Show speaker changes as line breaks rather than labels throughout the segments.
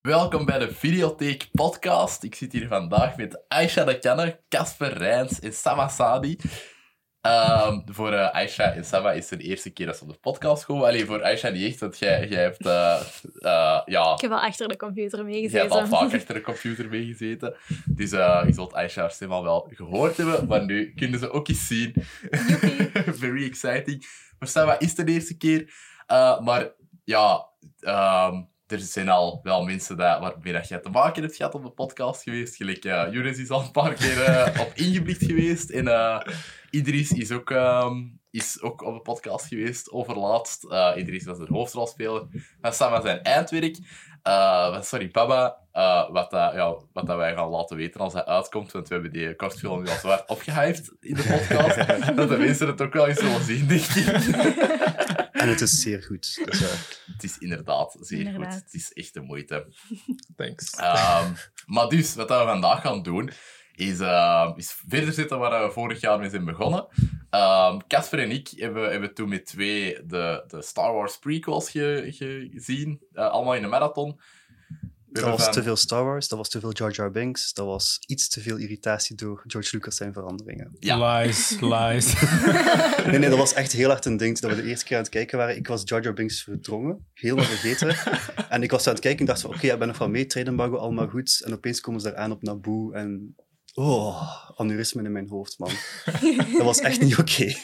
Welkom bij de Videotheek Podcast. Ik zit hier vandaag met Aisha de Kanne, Casper Rijns en Sama Sadi. Ehm, voor eh, Aisha en Sama is het de eerste keer dat ze op de podcast komen. Alleen voor Aisha niet echt, want jij, jij hebt. eh, eh, ja,
Ik heb wel achter de
jij
computer
hebt
meegezeten.
al vaak achter de computer meegezeten. Dus eh je zult Aisha haar stem al wel gehoord hebben, maar nu kunnen ze ook eens zien. Very exciting. Maar Sama is de eerste keer. Eh, maar ja, ehm, er zijn al wel mensen dat, waarmee dat jij te maken hebt gehad op de podcast geweest. Gelijk, eh Joris is al een paar keer eh, op ingeblikt geweest. En eh, Idris is ook, ehm, is ook op de podcast geweest, overlaatst. Eh, Idris was de hoofdrolspeler. En Sama zijn eindwerk. Eh, sorry, Baba. eh, wat, dat- ja, wat dat wij gaan laten weten als hij uitkomt. Want we hebben die kortfilm nu al zwaar opgehyped in de podcast. dat de mensen het ook wel eens zullen zien, denk ik.
En het is zeer goed. Dus, eh,
Het is inderdaad zeer
Inderdaad.
goed. Het is echt de moeite.
Thanks.
Ah,
Ehm, maar dus, wat dat we vandaag gaan doen, is, ehm, is verder zitten waar we vorig jaar mee zijn begonnen. Ehm, Casper en ik hebben, hebben toen met twee de, de Star Wars prequels ge- ge- gezien. eh, allemaal in de marathon. We
dat
hebben
was
van-
te veel Star Wars, dat was te veel Jar Jar Binks, dat was iets te veel irritatie door George Lucas zijn veranderingen.
Ja.
Lies, lies.
Nee, nee, dat was echt heel hard een ding dat we de eerste keer aan het kijken waren. Ik was Jar Jar Binks verdrongen, helemaal vergeten. en ik was aan het kijken en dacht van, oké, ik ben nog wel mee, trade embargo, allemaal goed. En opeens komen ze daar aan op Naboo en... Oh, aneurysmen in mijn hoofd, man. Dat was echt niet oké.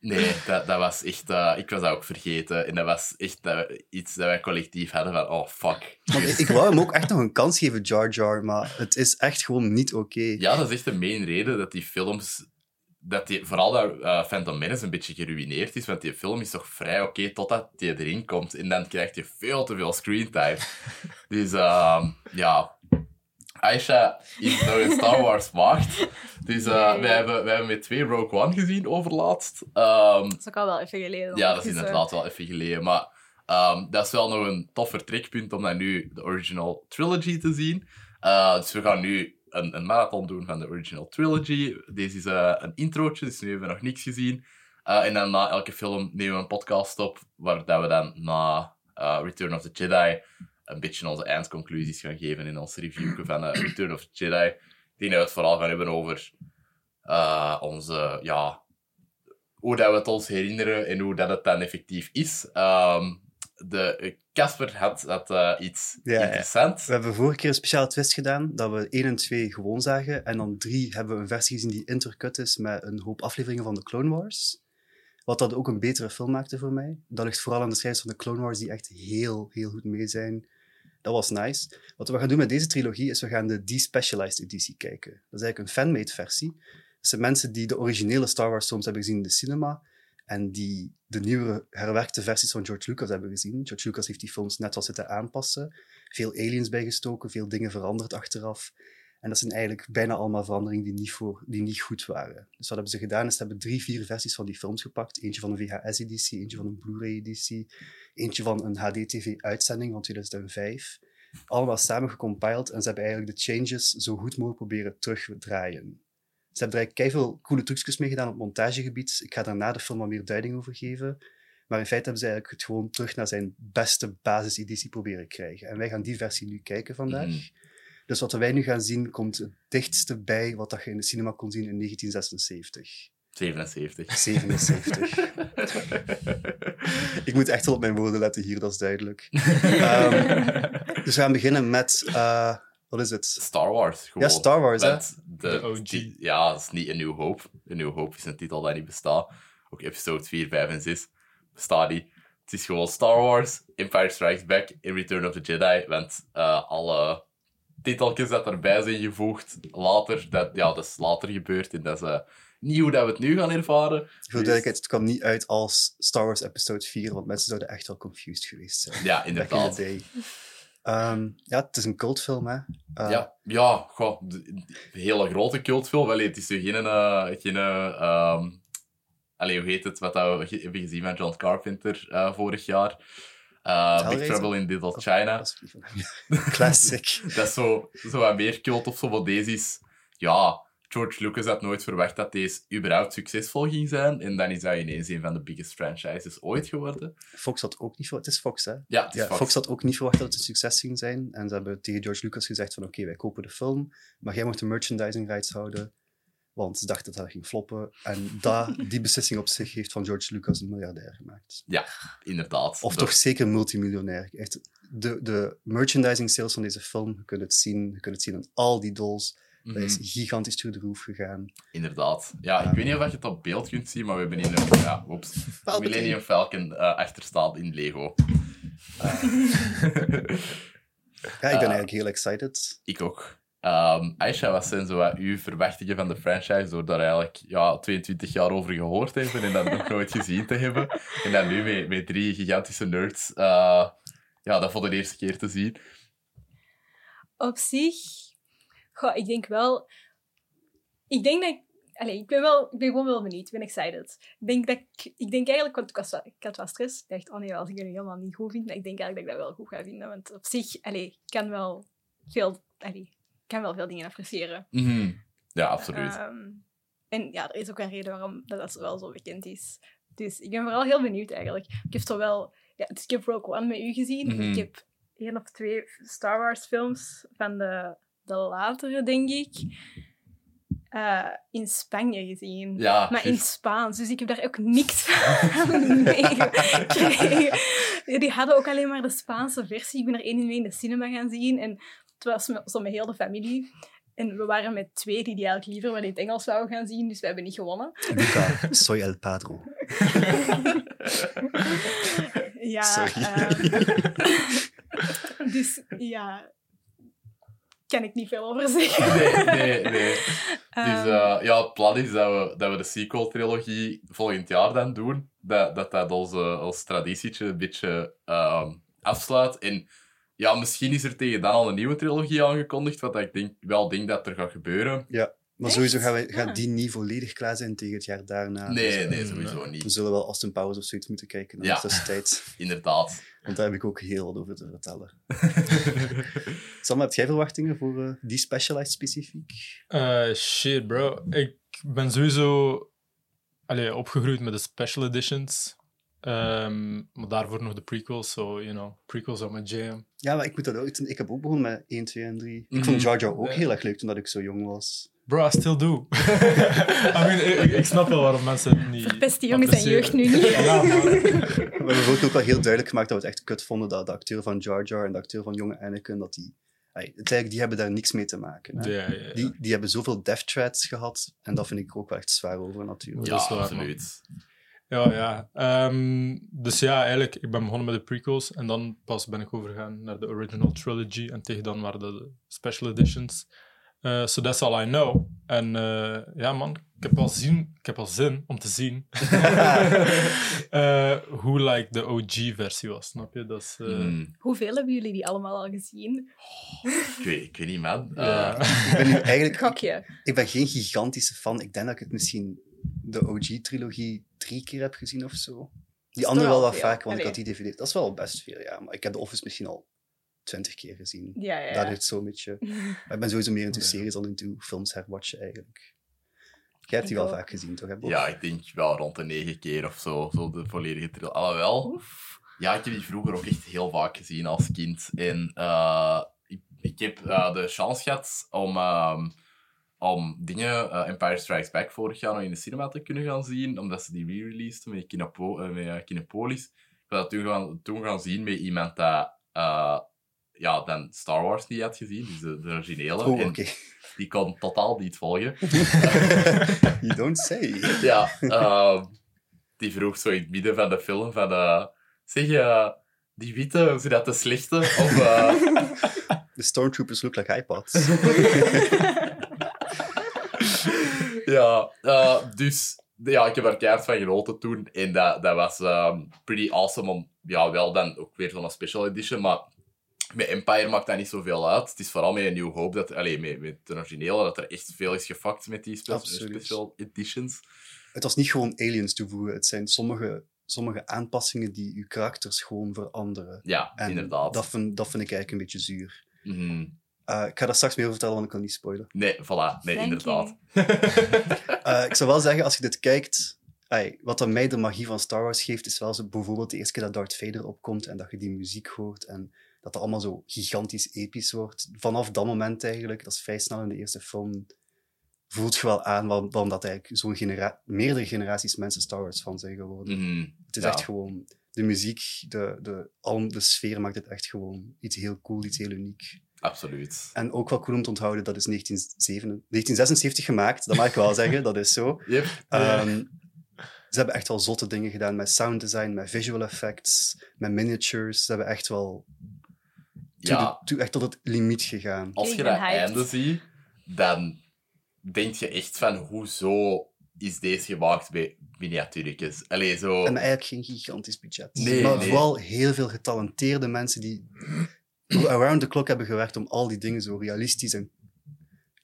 Nee, dat, dat was echt... eh, ik was dat ook vergeten. En dat was echt eh, iets dat wij collectief hadden van... Oh, fuck.
Want ik- ik wou hem ook echt nog een kans geven, Jar Jar, maar het is echt gewoon niet oké.
Ja, dat is echt de main reden dat die films... Dat die, vooral dat eh, Phantom Menace een beetje geruineerd is, want die film is toch vrij oké totdat die erin komt. En dan krijgt je veel te veel screentime. dus ehm, ja... Aisha is nog een Star Wars maagd. Dus eh,
Nee.
wij, hebben, wij hebben met twee Rogue One gezien overlaatst. Ehm,
Dat is ook al wel even geleden.
ja, dat is
Dus, eh,
inderdaad wel even geleden. Maar ehm, dat is wel nog een tof vertrekpunt om dan nu de original trilogy te zien. Eh, dus we gaan nu een, een marathon doen van de original trilogy. Deze is eh, een introotje, dus nu hebben we nog niks gezien. Eh, en dan na elke film nemen we een podcast op, waar dat we dan na eh, Return of the Jedi een beetje onze eindconclusies gaan geven in ons review van eh, Return of the Jedi. Ik denk dat we het vooral gaan hebben over eh, onze, ja, hoe dat we het ons herinneren en hoe dat het dan effectief is. Ehm, de, eh, Casper had, had eh, iets
Ja, ja.
interessants.
We hebben vorige keer een speciale twist gedaan, dat we 1 en 2 gewoon zagen. En dan 3 hebben we een versie gezien die intercut is met een hoop afleveringen van de Clone Wars. Wat dat ook een betere film maakte voor mij. Dat ligt vooral aan de schrijvers van de Clone Wars, die echt heel, heel goed mee zijn. Dat was nice. Wat we gaan doen met deze trilogie is, we gaan de Despecialized editie kijken. Dat is eigenlijk een fanmade versie. Dat zijn mensen die de originele Star Wars films hebben gezien in de cinema. En die de nieuwere, herwerkte versies van George Lucas hebben gezien. George Lucas heeft die films net wat zitten aanpassen veel aliens bijgestoken, veel dingen veranderd achteraf. En dat zijn eigenlijk bijna allemaal veranderingen die niet, voor, die niet goed waren. Dus wat hebben ze gedaan is, ze hebben drie, vier versies van die films gepakt. Eentje van een VHS-editie, eentje van een Blu-ray-editie, eentje van een HDTV-uitzending van 2005. Allemaal samen gecompiled en ze hebben eigenlijk de changes zo goed mogelijk proberen terugdraaien. Ze hebben er eigenlijk veel coole trucjes mee gedaan op montagegebied. Ik ga daar na de film wat meer duiding over geven. Maar in feite hebben ze eigenlijk het gewoon terug naar zijn beste basiseditie proberen krijgen. En wij gaan die versie nu kijken vandaag.
Mhm.
Dus wat wij nu gaan zien, komt het dichtste bij wat dat je in de cinema kon zien in 1976.
77.
77. Ik moet echt wel op mijn woorden letten hier, dat is duidelijk.
eh,
Ehm, dus we gaan beginnen met... eh, wat is het?
Star Wars, gewoon.
Ja, Star Wars, hè?
Want de,
De OG.
die- ja, dat is niet een nieuw hoop. Een nieuw hoop is een titel dat niet bestaat. Ook episode 4, 5 en 6 bestaat niet. Het is gewoon Star Wars, Empire Strikes Back en Return of the Jedi. Want eh, alle titeltjes dat erbij zijn gevoegd later, dat, ja, dat is later gebeurd. En dat is eh, niet hoe dat we het nu gaan ervaren.
Voor de duidelijkheid, het kwam niet uit als Star Wars Episode 4, want mensen zouden echt wel confused geweest zijn.
Ja,
Back in the
inderdaad.
day. Ehm, ja, het is een cultfilm, hè. Eh,
Ja, ja goh, d- d- hele grote cultfilm. Allee, het is nu geen... eh, geen eh, ehm, allee, hoe heet het? Wat dat we ge- hebben gezien van John Carpenter eh, vorig jaar. Eh, Big
Hellraiser?
Trouble in Little
Of-
China.
dat is lief van hem. Classic.
Dat is zo, zo wat meer cult of zo, maar deze is... Ja, George Lucas had nooit verwacht dat deze überhaupt succesvol ging zijn. En dan is dat ineens een van de biggest franchises ooit geworden.
Fox had ook niet verwacht... Het is Fox, hè?
Ja, het is
Ja,
Fox.
Fox had ook niet verwacht dat het een succes ging zijn. En ze hebben tegen George Lucas gezegd van oké, wij kopen de film, maar jij moet de merchandising rights houden. Want ze dachten dat dat ging floppen. En dat, die beslissing op zich heeft van George Lucas een miljardair gemaakt.
Inderdaad.
Of toch zeker multimiljonair. Echt, de, de merchandising sales van deze film, je kunt het zien, je kunt het zien aan al die dolls.
Mhm.
Dat is gigantisch through the roof gegaan.
Inderdaad. Ja,
Ja.
ik weet niet of je het op beeld kunt zien, maar we hebben hier een ja, oeps,
Palpatine.
Millennium Falcon eh achterstaan in Lego. Eh,
Ja,
Ah.
ik ben eigenlijk heel excited.
ik ook. Ehm Aisha, wat zijn zo wat uw verwachtingen van de franchise door daar eigenlijk ja, 22 jaar over gehoord te hebben en dat nog nooit gezien te hebben? En dan nu met, met drie gigantische nerds eh, ja, dat voor de eerste keer te zien.
Op zich, goh, ik denk wel. Ik denk dat ik. Allee, ik ben, wel, ik ben gewoon wel benieuwd. Ik ben excited. Ik denk, dat ik, ik denk eigenlijk, want ik, was, wel- ik had wat stress. Ik dacht, oh nee, als ik het nu helemaal niet goed vind, maar ik denk eigenlijk dat ik dat wel goed ga vinden. Want op zich, allee, ik kan wel veel, allee, ik kan wel veel dingen appreciëren.
Mhm. Ja, absoluut.
Ehm, en ja, er is ook een reden waarom dat, dat wel zo bekend is. Dus ik ben vooral heel benieuwd eigenlijk. Ik heb zowel... Ja, dus ik heb Rogue One met u gezien.
Mhm.
Ik heb één of twee Star Wars films van de, de latere, denk ik, eh, in Spanje gezien.
ja,
Maar in
Ah, juist.
Spaans, dus ik heb daar ook niks van meegekregen. Die- Die hadden ook alleen maar de Spaanse versie. Ik ben er één in mee in de cinema gaan zien. En het was met, zo met heel de familie. En we waren met twee die die eigenlijk liever wel in het Engels zouden gaan zien. Dus we hebben niet gewonnen.
Luca, soy el padro.
Ja,
Sorry.
ehm, dus ja, kan ik niet veel over zeggen.
Nee, nee, nee. Dus
Ehm,
eh, ja, het plan is dat we, dat we de sequel-trilogie volgend jaar dan doen. Dat dat, dat onze, ons traditietje een beetje ehm, afsluit. En ja, misschien is er tegen dan al een nieuwe trilogie aangekondigd, wat ik denk, wel denk dat er gaat gebeuren.
Maar
Echt?
sowieso gaan we, gaat
Ah.
die niet volledig klaar zijn tegen het jaar daarna. Dus,
Nee,
eh,
nee, sowieso
We
niet.
zullen wel Austin Powers of zoiets moeten kijken in
Ja.
de tussentijd.
Inderdaad.
Want daar heb ik ook heel wat over te vertellen. Sam, heb jij verwachtingen voor eh, die specialized specifiek?
Eh, shit, bro. Ik ben sowieso allee, opgegroeid met de special editions. Ehm, maar daarvoor nog de prequels. So, you know, prequels are my jam.
Ja, maar ik moet dat ook. Ik heb ook begonnen met 1, 2 en 3. Ik
Mhm.
vond Jar Jar ook
Ja.
heel erg leuk toen dat ik zo jong was.
Bro, I still do. I mean, ik, ik- ik snap wel waarom mensen het niet...
Verpest die jongens zijn jeugd nu niet.
appreciëren. Ja, man.
Maar we hebben ook, ook wel heel duidelijk gemaakt dat we het echt kut vonden dat de acteur van Jar Jar en de acteur van jonge Anakin, dat die... Ay, het eigenlijk, die hebben daar niks mee te maken. hè.
Ja, ja, ja.
Die, die hebben zoveel death threats gehad. En dat vind ik ook wel echt zwaar over, natuurlijk.
Ja,
Dat is waar, man.
absoluut.
Ja, ja. Ehm, dus ja, eigenlijk, ik ben begonnen met de prequels en dan pas ben ik overgegaan naar de original trilogy en tegen dan waren de special editions. Eh so that's all I know. En eh, ja, man, ik heb al, zien, ik heb al zin om te zien eh, hoe like de OG-versie was, snap je? Dat is... eh,
Mm,
Hoeveel hebben jullie die allemaal al gezien?
ik, weet, ik weet niet, man. Eh,
ja.
Ik ben nu eigenlijk...
Gokje.
Ik ben geen gigantische fan. Ik denk dat ik het misschien de OG-trilogie drie keer heb gezien of zo. Die
is
andere
toch
wel
wel
wat
veel.
vaker, want ik had
Allee.
die DVD. Dat is wel best veel, ja. Maar ik heb The Office misschien al twintig keer gezien.
Ja, ja,
Dat
ja.
is zo'n beetje... Maar ik ben sowieso meer into
Ja.
series dan into films herwatchen, eigenlijk. Jij hebt die
Ik
wel
ook.
vaak gezien, toch? hè, Bob?
ja, ik denk wel rond de negen keer of zo. Zo de volledige trilogie. Alhoewel...
Oef.
Ja, ik heb die vroeger ook echt heel vaak gezien als kind. En eh, ik, ik heb eh, de chance gehad om, ehm, om dingen, eh, Empire Strikes Back vorig jaar nog in de cinema te kunnen gaan zien, omdat ze die re-releaseden met, Kinopo- eh, met eh, Kinepolis. Ik heb dat toen gaan, toen gaan zien met iemand dat eh, ja, dan Star Wars niet had gezien, dus de, de originele.
Oh, oké.
En die kon totaal niet volgen.
you don't say.
Ja, ehm, die vroeg zo in het midden van de film van... eh, zeg, eh, die witte, hoe ze dat de slechte? Of, eh,
The stormtroopers look like iPads.
ja, eh, dus... Ja, ik heb er keihard van genoten toen. En dat, dat was ehm, pretty awesome om... Ja, wel dan ook weer zo'n special edition, maar... Met Empire maakt dat niet zoveel uit. Het is vooral met een New Hope, dat, allee, met, met de originele, dat er echt veel is gefakt met die spe-
Absoluut.
special editions.
het was niet gewoon aliens toevoegen. Het zijn sommige, sommige aanpassingen die uw karakters gewoon veranderen.
Ja,
En
inderdaad.
Dat vind, dat vind ik eigenlijk een beetje zuur.
Mhm.
Eh, ik ga daar straks meer over vertellen, want ik kan niet spoilen.
Nee, voilà. Nee,
Thank
inderdaad.
Eh, ik zou wel zeggen, als je dit kijkt, ai, wat dan mij de magie van Star Wars geeft, is wel zo, bijvoorbeeld de eerste keer dat Darth Vader opkomt en dat je die muziek hoort en dat dat allemaal zo gigantisch episch wordt. Vanaf dat moment eigenlijk, dat is vrij snel in de eerste film, voelt je wel aan waarom, waarom dat eigenlijk zo'n genera- meerdere generaties mensen Star Wars van zijn geworden.
Mhm,
Het is
ja.
echt gewoon de muziek, de, de, al- de sfeer maakt het echt gewoon iets heel cool, iets heel uniek.
Absoluut.
En ook wel cool om te onthouden, dat is 1977 1976 gemaakt, dat mag ik wel zeggen, dat is zo.
Yep.
Ja.
Ehm, ze hebben echt wel zotte dingen gedaan met sound design, met visual effects, met miniatures. Ze hebben echt wel to
Ja, Oh.
de- to- echt tot het limiet gegaan.
als
Ik
je
ben
dat
hyped.
einde ziet, dan denk je echt van hoezo is deze gemaakt bij miniatuurtjes? Allee, zo...
En eigenlijk geen gigantisch budget.
Nee,
maar
nee.
vooral heel veel getalenteerde mensen die around the clock hebben gewerkt om al die dingen zo realistisch en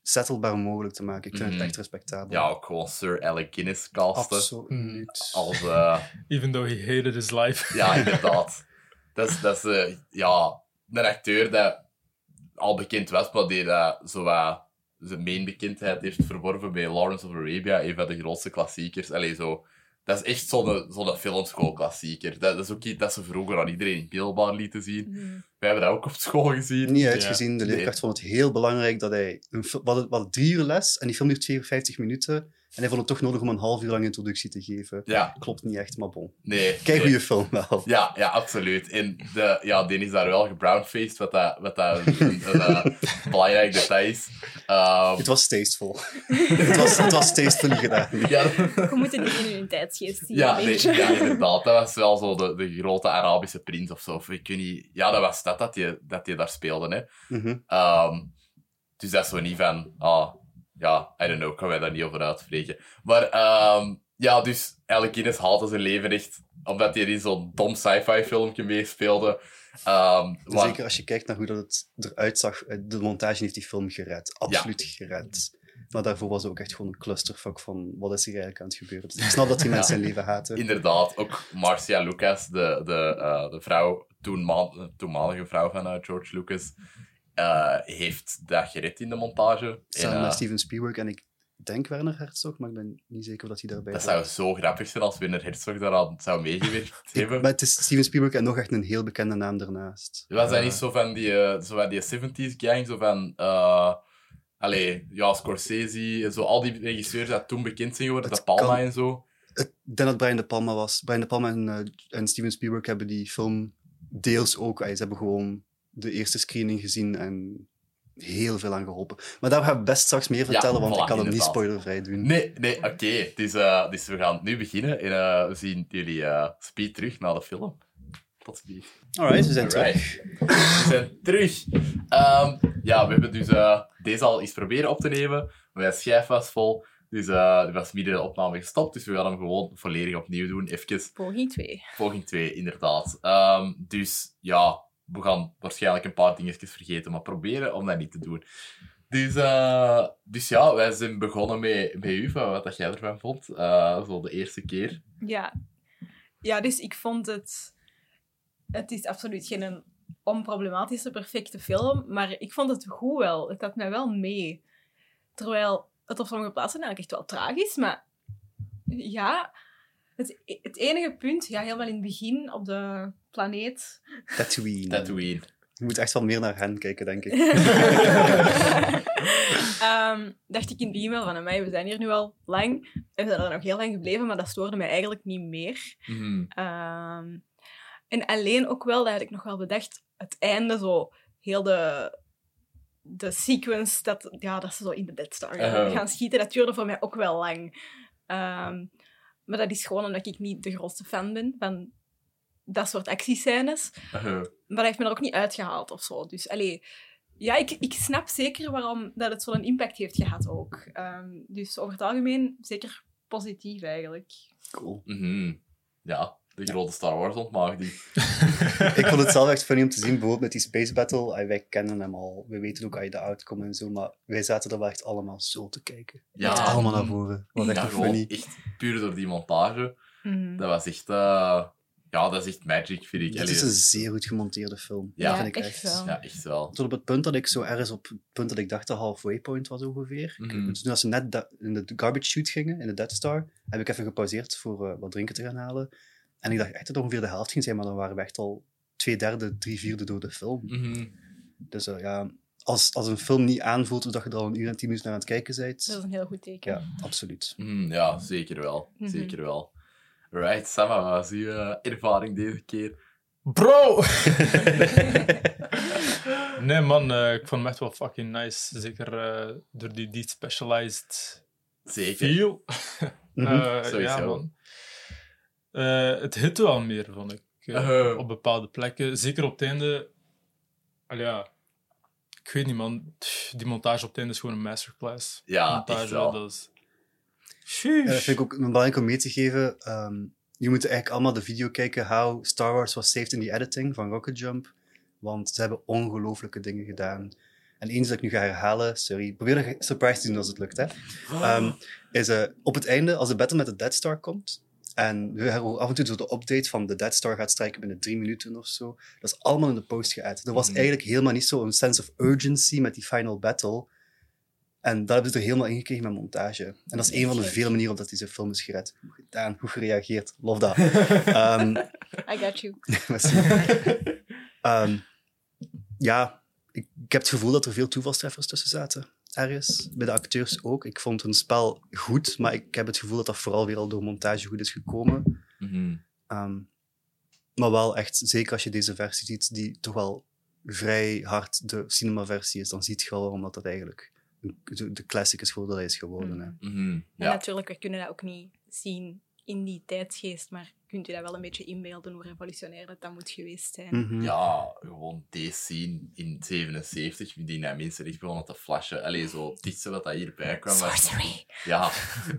settlebaar mogelijk te maken. Ik vind
Mhm.
het echt respectabel.
Ja, ook gewoon Sir Alec Guinness casten.
Absoluut.
Als, eh,
Even though he hated his life.
ja, inderdaad. Dat is, dat is eh, ja, een acteur dat al bekend was, maar die dat zo wat zijn main bekendheid heeft verworven bij Lawrence of Arabia, een van de grootste klassiekers. Allee, zo... Dat is echt zo'n zo'n filmschoolklassieker. Dat, dat is ook iets dat ze vroeger aan iedereen in beeldbaar lieten zien.
Mhm.
Wij hebben dat ook op school gezien.
niet uitgezien. De
Nee.
leerkracht vond het heel belangrijk dat hij... Een, fil- we, hadden, we hadden drie uur les en die film duurt 54 minuten. En hij vond het toch nodig om een half uur lang introductie te geven.
Ja,
Klopt niet echt, maar bon.
nee.
Kijk
nee.
hoe je film wel.
Ja, ja, absoluut. En de, ja, die is daar wel gebrownfaced, wat dat, wat dat een, een, een, eh, belangrijk detail is. Ehm,
Het was tasteful. het, was, het was tasteful gedaan.
ja,
We moeten die in hun tijdsgeest zien.
ja,
een
nee,
beetje.
ja, inderdaad. Dat was wel zo de, de grote Arabische prins of zo. Of Ik weet niet, ja, dat was dat dat je, dat je daar speelde. Hè.
Mhm.
Ehm, dus dat is zo niet van, ah, ja, I don't know, kan wij daar niet over uitspreken. Maar ehm, ja, dus Alec Guinness haalde zijn leven echt, omdat hij in zo'n dom sci-fi filmpje meespeelde. Ehm, waar-
Zeker als je kijkt naar hoe dat het eruit zag. eh, De montage heeft die film gered. Absoluut gered. Maar daarvoor was het ook echt gewoon een clusterfuck van wat is hier eigenlijk aan het gebeuren. Dus ik snap dat die mensen zijn leven haten.
Inderdaad, ook Marcia Lucas, de, de, eh, de vrouw, toenma- toenmalige vrouw van eh, George Lucas, eh, heeft dat gered in de montage. En,
Samen
eh,
met Steven Spielberg en ik denk Werner Herzog, maar ik ben niet zeker of dat hij daarbij
dat
was.
zou zo grappig zijn als Winner Herzog daaraan zou meegewerkt
Ik-
hebben.
maar het is Steven Spielberg en nog echt een heel bekende naam daarnaast.
Was dat
Ja.
niet zo van die, eh, zo van die 70s gang, zo van... eh allee, ja, Scorsese, en zo, al die regisseurs die toen bekend zijn geworden,
Het
de Palma
kan-
en zo.
Ik denk dat Brian De Palma was. Brian De Palma en, eh, en Steven Spielberg hebben die film deels ook. eh, ze hebben gewoon de eerste screening gezien en heel veel aan geholpen. Maar daar ga ik best straks meer vertellen, want
voilà,
ik kan hem niet
inderdaad.
spoilervrij doen.
Nee, nee, oké. Dus, eh, dus we gaan nu beginnen en eh, we zien jullie eh, speed terug naar de film. Tot speed.
Alright, we zijn terug.
Alright. We zijn terug. Ehm, ja, we hebben dus eh, deze al eens proberen op te nemen. Mijn schijf was vol. Dus eh er was midden de opname gestopt. Dus we gaan hem gewoon volledig opnieuw doen. Even
Poging 2.
poging 2, inderdaad. Ehm, dus ja, we gaan waarschijnlijk een paar dingetjes vergeten. Maar proberen om dat niet te doen. Dus, eh, dus ja, wij zijn begonnen met, met u, van wat dat jij ervan vond. Eh, zo de eerste keer.
Ja. ja, dus ik vond het... Het is absoluut geen onproblematische, perfecte film, maar ik vond het goed wel. Het had mij wel mee. Terwijl het op sommige plaatsen eigenlijk echt wel tragisch, maar ja... Het, het enige punt, ja, helemaal in het begin op de planeet.
Tatooine.
Tatooine.
Je moet echt wel meer naar hen kijken, denk ik.
Ehm, dacht ik in het begin wel van, mij, we zijn hier nu al lang. En we zijn er nog heel lang gebleven, maar dat stoorde mij eigenlijk niet meer.
Mhm.
Ehm, en alleen ook wel, dat had ik nog wel bedacht, het einde zo, heel de, de sequence, dat, ja, dat ze zo in de bed staan gaan,
Uh-huh.
gaan schieten, dat duurde voor mij ook wel lang. Ehm, maar dat is gewoon omdat ik niet de grootste fan ben van dat soort actiescènes.
Eh,
Maar dat heeft me er ook niet uitgehaald of zo. Dus allee, ja, ik, ik snap zeker waarom dat het zo'n impact heeft gehad ook. Ehm, dus over het algemeen zeker positief eigenlijk.
Cool.
mhm. Ja, de grote Star Wars ontmaagding.
Ik vond het zelf echt funny om te zien, bijvoorbeeld met die Space Battle. Ah, wij kennen hem al. We weten ook aan de outcome en zo, maar wij zaten er wel echt allemaal zo te kijken.
Ja,
Echt allemaal naar
mm,
voren. Wat
ja,
echt nog
gewoon
funny.
echt puur door die montage.
Mhm.
Dat was echt eh, Ja, dat is echt magic, vind ik.
het
Allee,
is
dat
een
is-
zeer goed gemonteerde film.
Ja.
vind ik
echt
echt.
wel.
Ja, echt wel.
Tot op het punt dat ik zo ergens op het punt dat ik dacht de halfway point was ongeveer. Ik-
Mhm.
Toen als ze net da- in de garbage shoot gingen, in de Dead Star, heb ik even gepauzeerd voor eh, wat drinken te gaan halen. En ik dacht echt dat ongeveer de helft ging zijn, maar dan waren we echt al twee derde, drie vierde door de film.
Mhm.
Dus eh, ja, als, als een film niet aanvoelt dat je er al een uur en tien minuten naar aan het kijken
Dat is
bent,
een heel goed teken.
ja, absoluut.
Mm, ja, zeker wel.
Mhm.
Zeker wel. Right, Sama, wat was uw eh, ervaring deze keer?
Bro! nee, man, eh, ik vond hem echt wel fucking nice. Zeker eh, door die Specialized
Zeker.
feel.
Mhm.
Eh,
Sowieso.
ja, man. Eh, het hitte wel meer, vond ik. eh,
Eh.
Op bepaalde plekken. Zeker op het einde. Al ja, ik weet niet, man. Pff, Die montage op het einde is gewoon een masterclass.
Ja,
montage,
Ah, echt wel.
Dat is...
Ja, dat
Sheesh.
Eh, vind ik ook belangrijk om mee te geven. Ehm, je moet eigenlijk allemaal de video kijken How Star Wars Was Saved in the Editing van Rocket Jump. Want ze hebben ongelooflijke dingen gedaan. En eens dat ik nu ga herhalen, sorry, probeer een surprise te doen als het lukt. Hè. Ehm, is eh, op het einde, als de battle met de Dead Star komt, en we hebben af en toe zo de update van de Dead Star gaat strijken binnen drie minuten of zo, dat is allemaal in de post geëd. Er was
Mhm.
eigenlijk helemaal niet zo'n sense of urgency met die final battle. En dat hebben ze er helemaal ingekregen met montage. En dat is een van de vele manieren op dat deze film is gered. Goed gedaan, goed gereageerd, love dat. Ehm,
I got you.
merci. Ehm, ja, ik, ik heb het gevoel dat er veel toevalstreffers tussen zaten. Ergens. Bij de acteurs ook. Ik vond hun spel goed, maar ik heb het gevoel dat dat vooral weer al door montage goed is gekomen.
Mhm.
Ehm, maar wel echt, zeker als je deze versie ziet, die toch wel vrij hard de cinemaversie is, dan ziet je wel waarom dat, dat eigenlijk een- de, de classic is geworden dat hij is geworden. Hè.
Mhm.
En
Ja.
natuurlijk, we kunnen dat ook niet zien in die tijdsgeest, maar kunt u dat wel een beetje inbeelden hoe revolutionair dat, dat moet geweest zijn.
Hm.
Mhm.
ja, gewoon deze scene in 77, die naar mensen echt begonnen te flashen. Allee, zo dit zo dat dat hierbij kwam. was-
Sorcery!
Ja.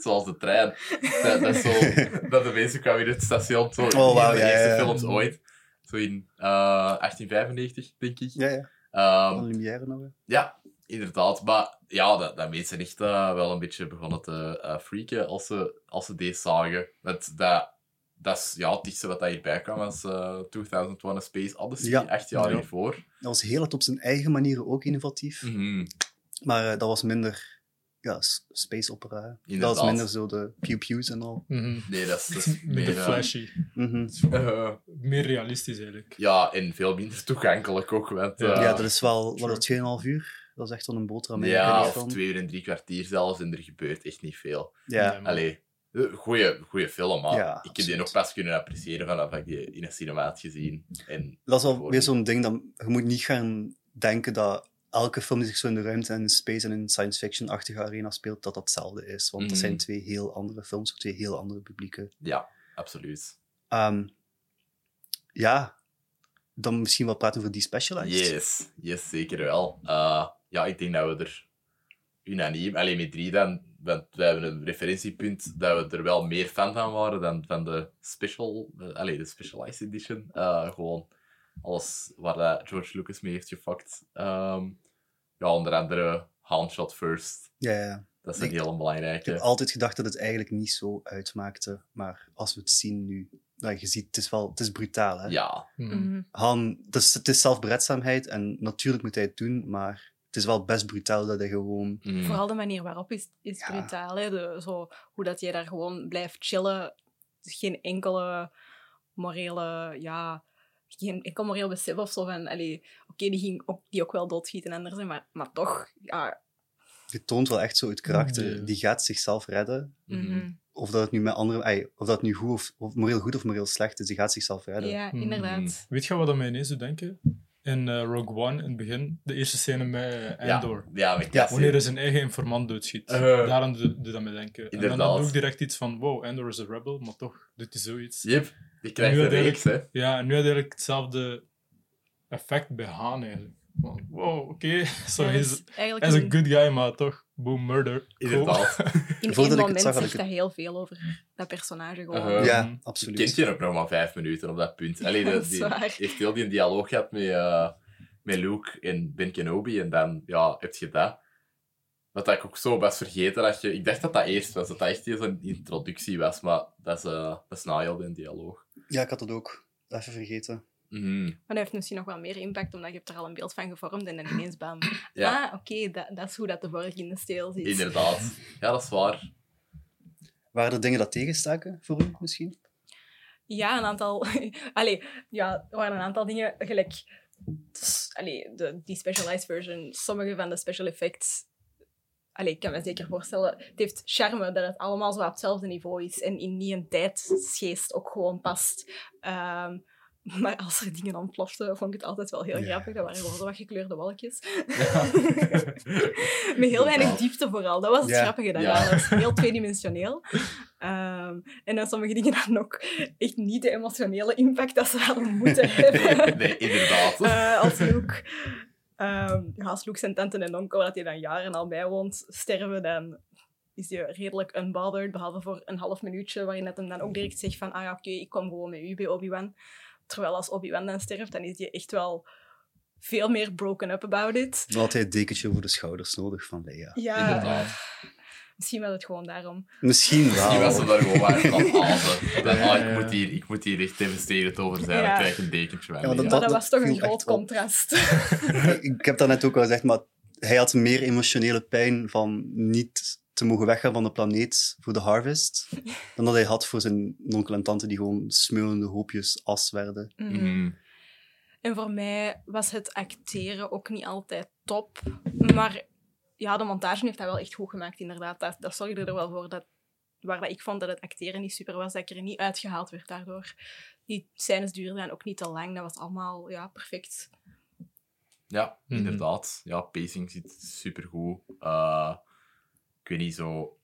Zoals de trein. Dat, dat, is zo, dat de mensen kwamen in het station. Zo, in
Oh, wauw,
een van de
ja,
eerste
ja.
films ooit. Zo in eh, 1895, denk ik.
Ja, Oh, ja.
Ehm,
Van Lumière nog. hè.
ja, inderdaad. Maar ja, dat, dat mensen echt eh, wel een beetje begonnen te eh, freaken als ze, als ze deze zagen. Want dat, dat is ja, het dichtste wat dat hierbij kwam was eh, 2001 A Space Odyssey,
Ja.
echt jaar
Ja.
hiervoor.
Dat was heel hard op zijn eigen manier ook innovatief.
Mhm,
Maar eh, dat was minder ja, s- space opera. hè. Dat
Inderdaad.
was minder zo de pew-pews en al.
Mhm.
Nee, dat is... dat is
Minder
meer, eh,
flashy.
Mhm.
eh,
Meer realistisch, eigenlijk.
ja, en veel minder toegankelijk ook. Want, eh,
Ja.
ja, dat is wel
Sure.
wat 2,5 uur. Dat is echt wel een boterham. hè, in
ja,
die
of
film.
twee uur en drie kwartier zelfs, en er gebeurt echt niet veel.
Ja.
Nee, man.
Allee, eh, goeie, goeie film, maar
Ja,
ik heb die
absoluut.
nog pas kunnen appreciëren vanaf dat ik die in een cinema had gezien. En,
Dat is wel
Voor-
weer zo'n ding dat je moet niet gaan denken dat elke film die zich zo in de ruimte en in space en in science fiction-achtige arena speelt, dat dat hetzelfde is. Want dat
Mhm.
zijn twee heel andere films voor twee heel andere publieken.
ja, absoluut.
Ehm, ja, dan misschien wel praten over die specialized.
Yes, yes, zeker wel. Eh, ja, ik denk dat we er unaniem, alleen met drie dan, want we hebben een referentiepunt dat we er wel meer fan van waren dan van de special, eh, allee, de specialized edition. Eh, gewoon alles waar dat George Lucas mee heeft gefokt. Ehm, ja, onder andere Handshot First.
Ja, ja.
Dat is een
Ik-
heel
Ik heb
belangrijke.
altijd gedacht dat het eigenlijk niet zo uitmaakte. Maar als we het zien nu, dan je ziet, het is wel het is brutaal. Hè?
Ja,
Mhm.
Mhm.
Han, het is, het is zelfberedzaamheid en natuurlijk moet hij het doen, maar het is wel best brutaal dat hij gewoon...
Mm.
Vooral de manier waarop is, is
Ja.
brutaal. Hè? De, zo, hoe dat je daar gewoon blijft chillen. Dus Geen enkele morele, ja, geen enkel moreel besef of zo van, allee, oké, die ging ook, die ook wel doodschieten en anders, hè, maar, maar toch, ja.
Je toont wel echt zo het karakter.
Ja.
Die gaat zichzelf redden.
Mhm.
Of dat het nu met anderen... ei, of dat het nu goed of, of moreel goed of moreel slecht is, die gaat zichzelf redden.
Ja, inderdaad.
Weet je wat dat mij ineens doet denken? In eh, Rogue One, in het begin, de eerste scène met eh,
Ja,
Endor.
ja, met
Ja,
Cassie.
Wanneer hij zijn eigen informant doodschiet.
Eh.
Daarom doet doet dat mij denken. En dan
Inderdaad.
doe ik direct iets van, wow, Endor is een rebel, maar toch doet hij zoiets.
Yep, je krijgt
Nu
een
had ik-
reeks, hè.
Ja, en nu had eigenlijk hetzelfde effect bij Han eigenlijk. Van, wow, oké, zo
Ja,
hij
dat
is
is eigenlijk
hij is
in-
een good guy, maar toch, boom, murder. Cool.
Inderdaad.
in één
Voordat ik het
moment
zag, had
zegt
ik
dat heel veel over dat personage gewoon.
Eh,
Ja,
Je
absoluut.
kent je ook nog maar vijf minuten op dat punt. Allee,
Dat
de,
is
die,
waar.
heeft heel die dialoog gehad met, eh, met Luke en Ben Kenobi. En dan ja, heb je dat. Wat ik ook zo was vergeten. Dat je, ik dacht dat dat eerst was. Dat dat echt zo'n introductie was. Maar dat is, eh dat is na heel die dialoog.
Ja, ik had dat ook. Even vergeten.
Mhm.
Maar dat heeft misschien nog wel meer impact, omdat je hebt er al een beeld van gevormd en dan ineens bam.
Ja.
Ah, oké, dat, dat is hoe dat de vork in de steel zit.
Inderdaad. Ja, dat is waar.
Waren er dingen dat tegenstaken voor u misschien?
Ja, een aantal... Allee, ja, er waren een aantal dingen gelijk... dus, Allee, de, die specialized version, sommige van de special effects... Allee, ik kan me zeker voorstellen, het heeft charme dat het allemaal zo op hetzelfde niveau is en in die een tijdsgeest ook gewoon past. Ehm, maar als er dingen ontploften, vond ik het altijd wel heel
Ja.
grappig. Dat waren gewoon zo wat gekleurde wolkjes.
Ja.
Met heel weinig
Totaal.
diepte vooral. Dat was het
Ja.
grappige daaraan.
Ja.
Dat was heel tweedimensioneel. Ehm, en dan sommige dingen dan ook echt niet de emotionele impact dat ze hadden moeten hebben.
Nee, inderdaad.
Eh, als Luke... ehm, ja, als Luke zijn tante en onkel, dat hij dan jaren al bij woont, sterven, dan is hij redelijk unbothered, behalve voor een half minuutje, waarin dat hem dan ook direct zegt van, ah ja, oké, ik kom gewoon met u bij Obi-Wan. Terwijl als Obi-Wan dan sterft, dan is hij echt wel veel meer broken up about it.
Dan had hij het dekentje voor de schouders nodig van Leia.
Ja,
Inderdaad.
misschien was het gewoon daarom.
Misschien wel.
Die was er daar gewoon maar van azen. En dan,
Ja,
ah,
ja.
ik, moet hier, ik moet hier echt devasterend over zijn.
Ja.
Ik krijg een dekentje bij
Ja,
me,
want
Maar
ja.
dat, was toch een
viel
groot
echt op.
contrast.
ik heb dat net ook al gezegd, maar hij had meer emotionele pijn van niet te mogen weggaan van de planeet voor de harvest, dan dat hij had voor zijn onkel en tante die gewoon smeulende hoopjes as werden.
Mm.
Mhm.
En voor mij was het acteren ook niet altijd top. Maar ja, de montage heeft dat wel echt goed gemaakt, inderdaad. Dat, dat zorgde er wel voor dat, waar dat ik vond dat het acteren niet super was, dat ik er niet uitgehaald werd daardoor. Die scènes duurden dan ook niet te lang. Dat was allemaal ja, perfect.
Ja,
Mhm.
inderdaad. Ja, pacing zit supergoed. Eh ik weet niet, zo...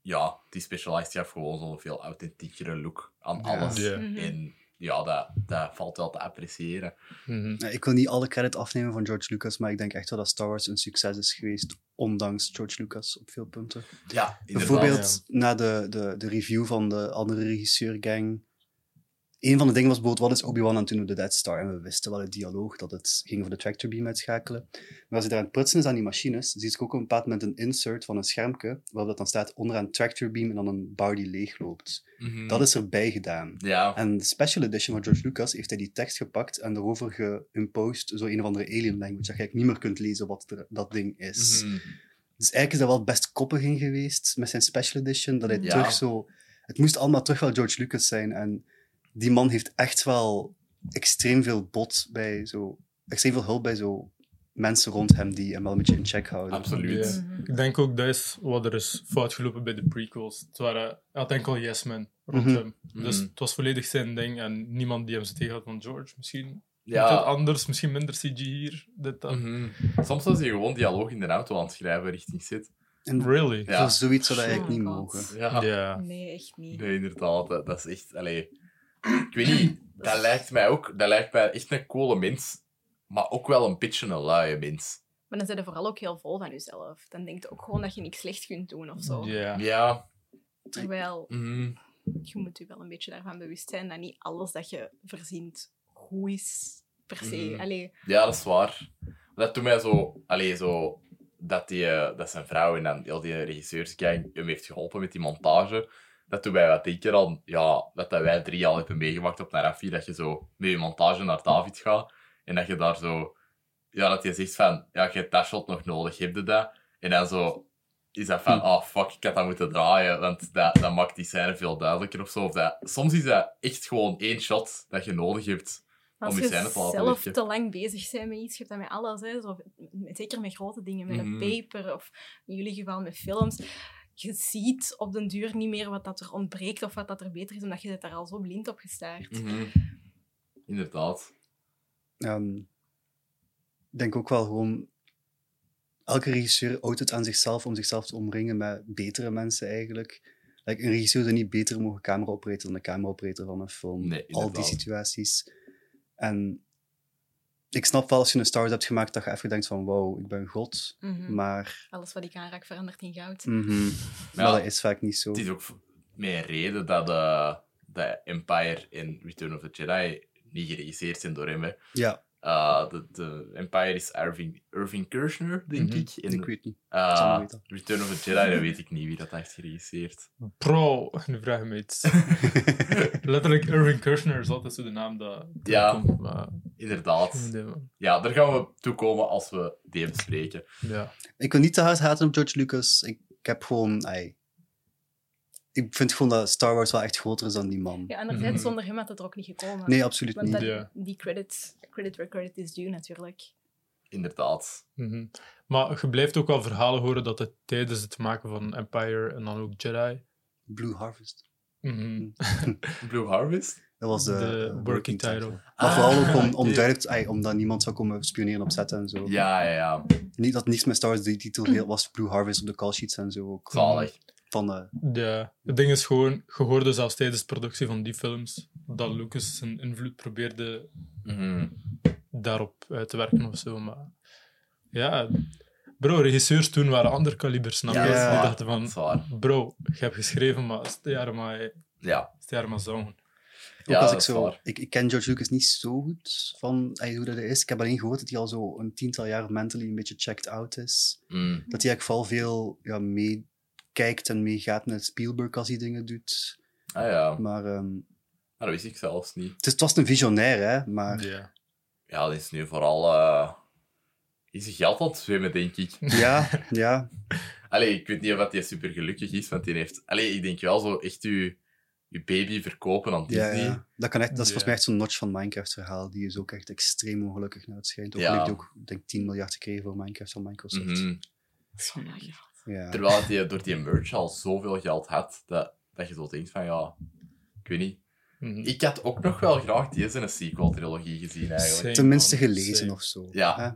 Ja, die Specialized die heeft gewoon zo'n veel authentiekere look aan
Ja.
alles.
Ja.
Mhm.
En ja, dat, dat valt wel te appreciëren.
Mhm.
Nou, Ik wil niet alle credit afnemen van George Lucas, maar ik denk echt wel dat Star Wars een succes is geweest, ondanks George Lucas op veel punten.
Ja, inderdaad.
Bijvoorbeeld na de, de, de review van de andere regisseurgang. Een van de dingen was bijvoorbeeld, wat is Obi-Wan aan toen op de Dead Star? En we wisten wel het dialoog, dat het ging over de tractor beam uitschakelen. Maar als je daar aan het prutsen is aan die machines, zie ik ook op een bepaald moment een insert van een schermpje, waarop dat dan staat onderaan tractor beam en dan een bar die leegloopt.
Mhm.
Dat is erbij gedaan.
Ja,
En de special edition van George Lucas heeft hij die tekst gepakt en erover geïmposed, zo een of andere alien language, dat je eigenlijk niet meer kunt lezen wat er- dat ding is.
Mhm.
Dus eigenlijk is dat wel best koppig in geweest met zijn special edition. Dat hij
Ja.
terug zo... Het moest allemaal terug wel George Lucas zijn. En die man heeft echt wel extreem veel bot bij zo... Extreem veel hulp bij zo mensen rond hem die hem wel een beetje in check houden.
absoluut.
Ja. Ik denk ook dat is wat er is fout gelopen bij de prequels. Het waren, hij had enkel yes men rond
Mhm.
hem. Dus
Mhm.
het was volledig zijn ding en niemand die hem zo tegenhoudt van George. Misschien
Ja.
moet dat anders, misschien minder CG hier, dit, dat.
Mhm. Soms was hij gewoon dialoog in de auto aan het schrijven richting zit.
Really?
Ja.
Voor zoiets zou dat eigenlijk
Oh
niet
my God.
mogen.
Ja.
Ja.
Nee, echt niet.
Nee, inderdaad. Dat, dat is echt... Allee, ik weet niet, dat lijkt mij ook... Dat lijkt mij echt een coole mens, maar ook wel een beetje een luie mens.
Maar dan zijn er vooral ook heel vol van jezelf. Dan denk je ook gewoon dat je niks slecht kunt doen of zo.
Ja.
Ja.
Terwijl
mhm.
je moet je wel een beetje daarvan bewust zijn dat niet alles dat je verzint goed is, per se.
Mhm.
Allee,
Ja, dat is waar. Dat doet mij zo... Allee, zo... Dat, die, eh, dat zijn vrouw en dan heel die regisseursgang hem heeft geholpen met die montage. Dat doet mij wat denken aan... Ja, dat, dat wij drie al hebben meegemaakt op Narafi. Dat je zo met je montage naar David gaat. En dat je daar zo... Ja, dat je zegt van... Ja, je hebt dat shot nog nodig. Heb je dat? En dan zo... Is dat van, ah fuck, ik had dat moeten draaien, want dat, dat maakt die scène veel duidelijker of zo. Of dat, soms is dat echt gewoon één shot dat je nodig hebt.
als
Om je
je
scène te laten
zelf
liggen.
te lang bezig bent met iets, je hebt dat met alles. Hè, zo, met- zeker met grote dingen, met
Mhm.
een paper of in jullie geval met films. Je ziet op den duur niet meer wat dat er ontbreekt of wat dat er beter is, omdat je zit daar al zo blind op gestaard.
Mhm. Inderdaad.
Ehm, ik denk ook wel gewoon... Elke regisseur houdt het aan zichzelf om zichzelf te omringen met betere mensen eigenlijk. Like, een regisseur zou niet beter mogen camera-operator dan de camera-operator van een film.
Nee,
Al die
inderdaad.
situaties. En ik snap wel als je een Star Wars hebt gemaakt dat je even denkt van wow, ik ben god.
Mhm.
Maar
Alles wat ik aanraak verandert in goud.
mhm, maar dat is vaak niet zo.
Het is ook v- met een reden dat, eh, dat Empire en Return of the Jedi niet geregisseerd zijn door hem. hè.
Ja,
Eh, de, de Empire is Irving, Irving Kirshner, denk
Mhm.
ik. En,
Ik weet niet.
eh,
Ik zal het weten.
Return of the Jedi, dat weet ik niet wie dat heeft geregisseerd.
Bro, nu vraag je me iets. Letterlijk, Irving Kirchner is altijd zo de naam dat
Ja.
komt. Maar,
Inderdaad. Ja, daar gaan we toe komen als we die bespreken.
ja.
Ik wil niet te hard haten op George Lucas. Ik, ik heb gewoon... ai, ik vind gewoon dat Star Wars wel echt groter is dan die man.
Ja, anderzijds,
Mhm.
zonder hem had het er ook niet gekomen.
Nee, absoluut
Want
niet.
dat,
Ja.
die credit, credit where credit is due natuurlijk.
Inderdaad.
Mhm. Maar je blijft ook wel verhalen horen dat het tijdens het maken van Empire en dan ook Jedi.
Blue Harvest.
Mhm.
Blue Harvest?
Dat was de,
de,
eh,
working title.
Maar
Ah,
vooral ook om,
oké.
om duidelijk te- ai, omdat niemand zou komen spioneren op set en zo.
Ja, ja, ja.
Niet dat niks met Star Wars die titel heel- was. Blue Harvest op de callsheets en zo ook.
Zalig.
Van, eh,
Ja. Het ding is gewoon, je hoorde zelfs tijdens de productie van die films dat Lucas zijn invloed probeerde
Mhm.
daarop uit te werken of zo. Maar ja, bro, regisseurs toen waren ander kalibers. Snap je?
Ja,
dat is
Die
waar.
dachten
Dat is
van,
waar.
bro, je hebt geschreven, maar is het jaren maar, is
Ja.
het jaren maar zo'n.
Ook
Ja,
als
dat
ik
is
zo...
waar.
Ik, ik ken George Lucas niet zo goed van ey, hoe dat hij is. Ik heb alleen gehoord dat hij al zo een tiental jaar mentally een beetje checked out is.
Mm.
Dat hij eigenlijk vooral veel ja, meekijkt en meegaat met Spielberg als hij dingen doet.
Ah ja, Ah,
Maar ehm,
dat wist ik zelfs niet.
het, is, het was een visionair, hè. Maar
Ja.
Ja, dat is nu vooral... eh is zijn geld aan het zwemmen, denk ik.
ja, ja.
Allee, ik weet niet of dat hij super gelukkig is, want die heeft... Allee, ik denk wel zo echt je, je baby verkopen aan
ja,
Disney.
ja. Dat, kan echt, dat is volgens
Ja.
mij echt zo'n notch van Minecraft-verhaal. Die is ook echt extreem ongelukkig naar het schijnt. Ook
Ja.
al heeft hij ook, denk ik, 10 miljard gekregen voor Minecraft van Microsoft.
Mhm.
Ja.
Terwijl hij door die merch al zoveel geld had, dat, dat je zo denkt van, ja, ik weet niet.
Mhm.
Ik had ook nog wel graag deze een sequel-trilogie gezien, eigenlijk.
Same,
Tenminste
man.
gelezen
Same.
of zo.
Ja.
hè.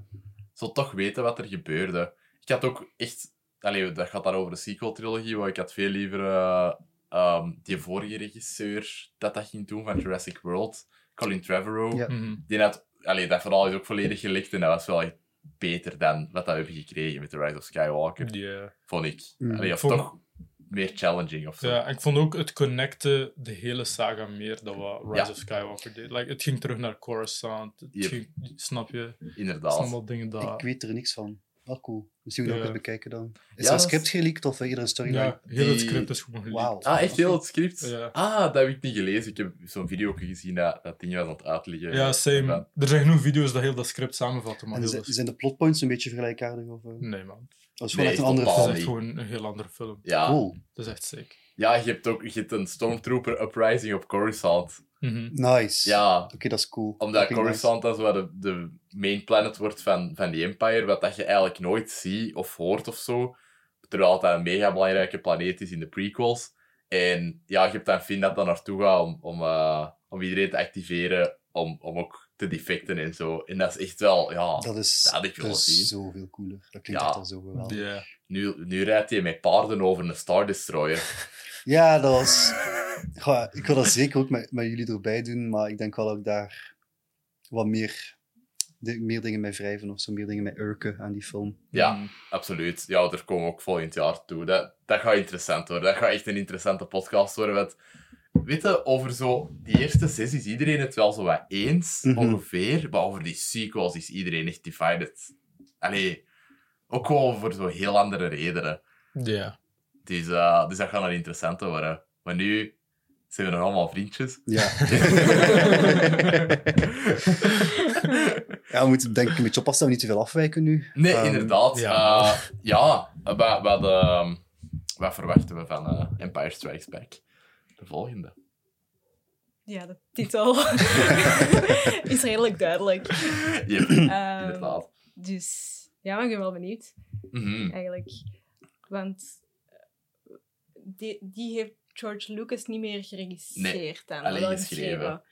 Zo toch weten wat er gebeurde. Ik had ook echt... Allee, dat gaat daar over de sequel-trilogie, maar ik had veel liever eh, ehm, die vorige regisseur dat dat ging doen van Jurassic World, Colin Trevorrow.
Ja.
Mhm.
Die had, allee, dat verhaal is ook volledig gelicht en dat was wel echt beter dan wat dat we hebben gekregen met The Rise of Skywalker,
Ja.
vond ik.
Mm.
Allee, of
Vond-
toch meer challenging of zo.
Ja, en ik vond ook het connecten de hele saga meer dan wat Rise
Ja.
of Skywalker deed. Like, het ging terug naar Coruscant. Het
Yep.
ging- snap je? Het
Inderdaad.
zijn allemaal dingen dat...
Ik weet er niks van. Wel cool. Misschien moeten we
Ja.
dat ook eens bekijken dan. Is
Ja,
er een
dat
script
is-
geleakt of eerder een storyline?
Ja, heel het
die-
script is gewoon geleakt.
Wauw.
Ah, echt heel het script?
Ja.
Ah, dat heb ik niet gelezen. Ik heb zo'n video ook gezien dat, dat ding was aan het uitleggen.
Ja,
Maar-
same. Er zijn genoeg video's dat heel dat script samenvatten, maar
En
heel
zi-
dat-
zijn de plotpoints een beetje vergelijkaardig? Of, eh?
Nee, man.
Dat is
Hm. Nee,
gewoon echt een andere
totaal
Het
film.
is echt
niet.
gewoon een heel andere film.
Ja.
Cool.
Dat is echt sick.
ja, je hebt ook je hebt een Stormtrooper Uprising op Coruscant.
Mhm.
Nice.
Ja,
Oké, dat is cool.
omdat
Fucking
Coruscant dat is waar de, de main planet wordt van, van die Empire, wat dat je eigenlijk nooit ziet of hoort of zo. Terwijl dat een mega belangrijke planeet is in de prequels. En ja, je hebt dan Finn dat daar naartoe gaat om, om, eh, om iedereen te activeren, om, om ook te defecten en zo. En dat is echt wel, ja...
nice. Dat is,
Dat had ik
dat
wel
is
gezien.
zoveel cooler. Dat klinkt
Ja.
echt al zo geweldig.
Ja.
Nu, nu rijdt hij met paarden over een Star Destroyer.
Ja, dat was... Goh, ik wil dat zeker ook met, met jullie erbij doen, maar ik denk wel dat ik daar wat meer, de- meer dingen mee wrijven of zo, meer dingen mee urken aan die film.
Ja.
Mhm.
Absoluut. Ja, daar komen we ook volgend jaar toe. Dat, dat gaat interessant worden. Dat gaat echt een interessante podcast worden. Want, weet je, over zo die eerste zes is iedereen het wel zo wat eens,
Mhm.
ongeveer. Maar over die sequels is iedereen echt divided. Allee, ook gewoon voor zo heel andere redenen.
Ja.
Dus, eh, dus dat gaat een interessante worden. Maar nu zijn we nog allemaal vriendjes.
Ja, ja we moeten denk ik een beetje oppassen dat we niet te veel afwijken nu.
Nee,
Ehm,
inderdaad.
ja.
Ja, ja wat, wat, ehm, wat verwachten we van eh, Empire Strikes Back? De volgende.
Ja, de titel is redelijk duidelijk.
Yep,
Ehm,
inderdaad.
dus ja, maar ik ben wel benieuwd
Mhm.
eigenlijk. Want eh, die, die heeft George Lucas niet meer geregisseerd. dan,
alleen
wel
geschreven.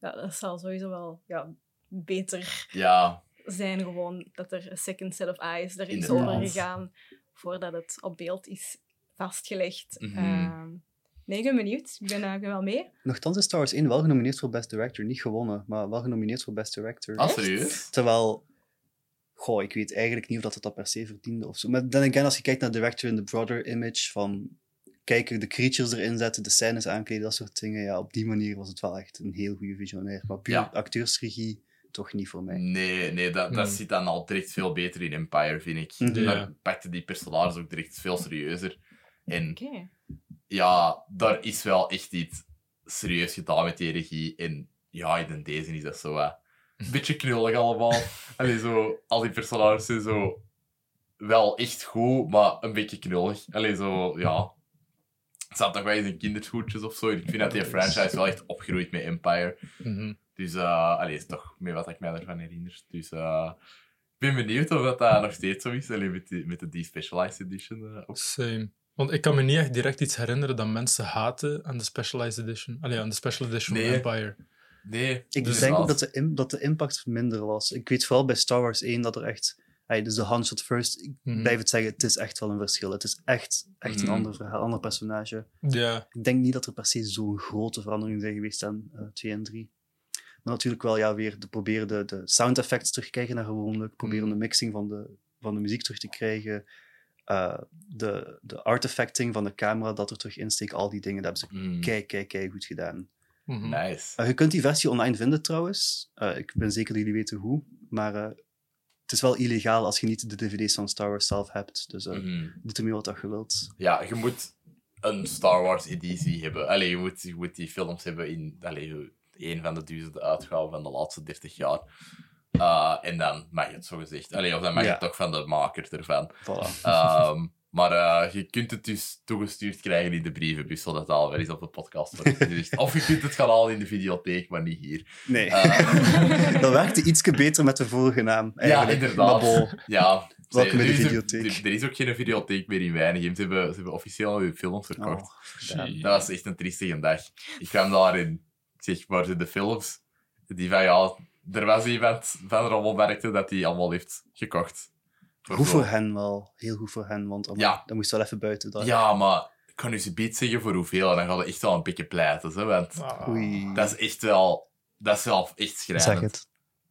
Ja, dat zal sowieso wel ja, beter
Ja,
zijn, gewoon dat er een second set of eyes er is
Inderdaad.
over gegaan voordat het op beeld is vastgelegd.
Mhm.
Ehm, nee, ik ben benieuwd. Ik ben, eh, ik ben wel mee.
Nochtans is Star Wars 1 wel genomineerd voor Best Director. Niet gewonnen, maar wel genomineerd voor Best Director.
ah,
Echt?
serieus?
Terwijl, goh, ik weet eigenlijk niet of dat het dat per se verdiende of zo. Maar dan again, als je kijkt naar director in the broader image van kijken, de creatures erin zetten, de scènes aankleden, dat soort dingen. Ja, op die manier was het wel echt een heel goede visionair. Maar puur
Ja. Mm.
acteursregie toch niet voor mij.
Nee, nee dat, dat
Hmm.
zit dan al direct veel beter in Empire, vind ik.
Mhm.
Daar
Ja.
pakte die personages ook direct veel serieuzer. En
Oké.
ja, daar is wel echt iets serieus gedaan met die regie. En ja, in deze is dat zo eh, een beetje knullig allemaal. Allee, zo, al die personages zijn zo wel echt goed, maar een beetje knullig. Allee, zo, ja... Het staat nog wel eens in kinderschoentjes of zo. En Ik vind dat die franchise wel echt opgegroeid met Empire.
Mhm.
Dus, eh allee, is toch meer wat ik mij ervan herinner. Dus, eh, ik ben benieuwd of dat, eh, nog steeds zo is. Alleen met, die, met de Despecialized Edition. eh, ook.
Same. Want ik kan me niet echt direct iets herinneren dat mensen haten aan de Specialized Edition. Allee, aan de Special Edition
Nee.
van Empire.
Nee.
Ik
dus
denk ook
als-
dat de, im- dat de impact minder was. Ik weet vooral bij Star Wars 1 dat er echt... Hey, dus de handshot first, ik
Mhm.
blijf het zeggen, het is echt wel een verschil. Het is echt, echt
Mhm.
een ander verhaal, ander personage.
Ja,
Ik denk niet dat er per se zo'n grote verandering zijn geweest aan eh 2 en 3. Maar natuurlijk wel ja, weer de, proberen de, de sound effects terug te krijgen naar gewoonlijk. Proberen de mixing van de, van de muziek terug te krijgen. eh, de, de artefacting van de camera dat er terug insteekt. Al die dingen, dat hebben
Mm,
ze kijk, kijk, kijk goed gedaan.
Mhm.
Nice.
Eh, je kunt die versie online vinden trouwens. Eh, ik ben zeker dat jullie weten hoe. Maar eh, het is wel illegaal als je niet de dvd's van Star Wars zelf hebt. Dus eh
Mhm.
doet ermee wat je wilt.
Ja, je moet een Star Wars editie hebben. Allee, je moet, je moet die films hebben in allee, een van de duizenden uitgaven van de laatste 30 jaar. Eh, en dan mag je het zo gezegd. Allee, of dan mag je
Ja.
het toch van de maker ervan.
Voilà.
Ehm, maar eh, je kunt het dus toegestuurd krijgen in de brievenbus, zodat het al wel eens op de podcast wordt gezegd. Of je kunt het gaan halen in de videotheek, maar niet hier.
Nee.
Eh.
dat werkte ietske beter met de vorige naam.
ja,
Eigenlijk.
inderdaad.
Maar bol.
Ja. Ze-
Welkom in de
er is een-
videotheek.
Er, er is ook geen videotheek meer in Weinigem. Ze hebben, ze hebben officieel al hun films verkocht.
Oh,
Shit.
Dat was echt een triestige dag. Ik kwam daarin. Ik zeg, waar zijn de films? Die van, ja, er was iemand van Rommelmarkten dat die allemaal heeft gekocht. Voor
goed
zo-
voor hen wel. Heel goed voor hen, want
Ja.
dat moest wel even buiten. Dat.
Ja, maar ik kan u ze beet zeggen voor hoeveel. En dan gaat het echt wel een beetje pleiten. Zo, want
Ah.
Oei.
Dat is echt wel... Dat is wel echt
zeg
schrijnend.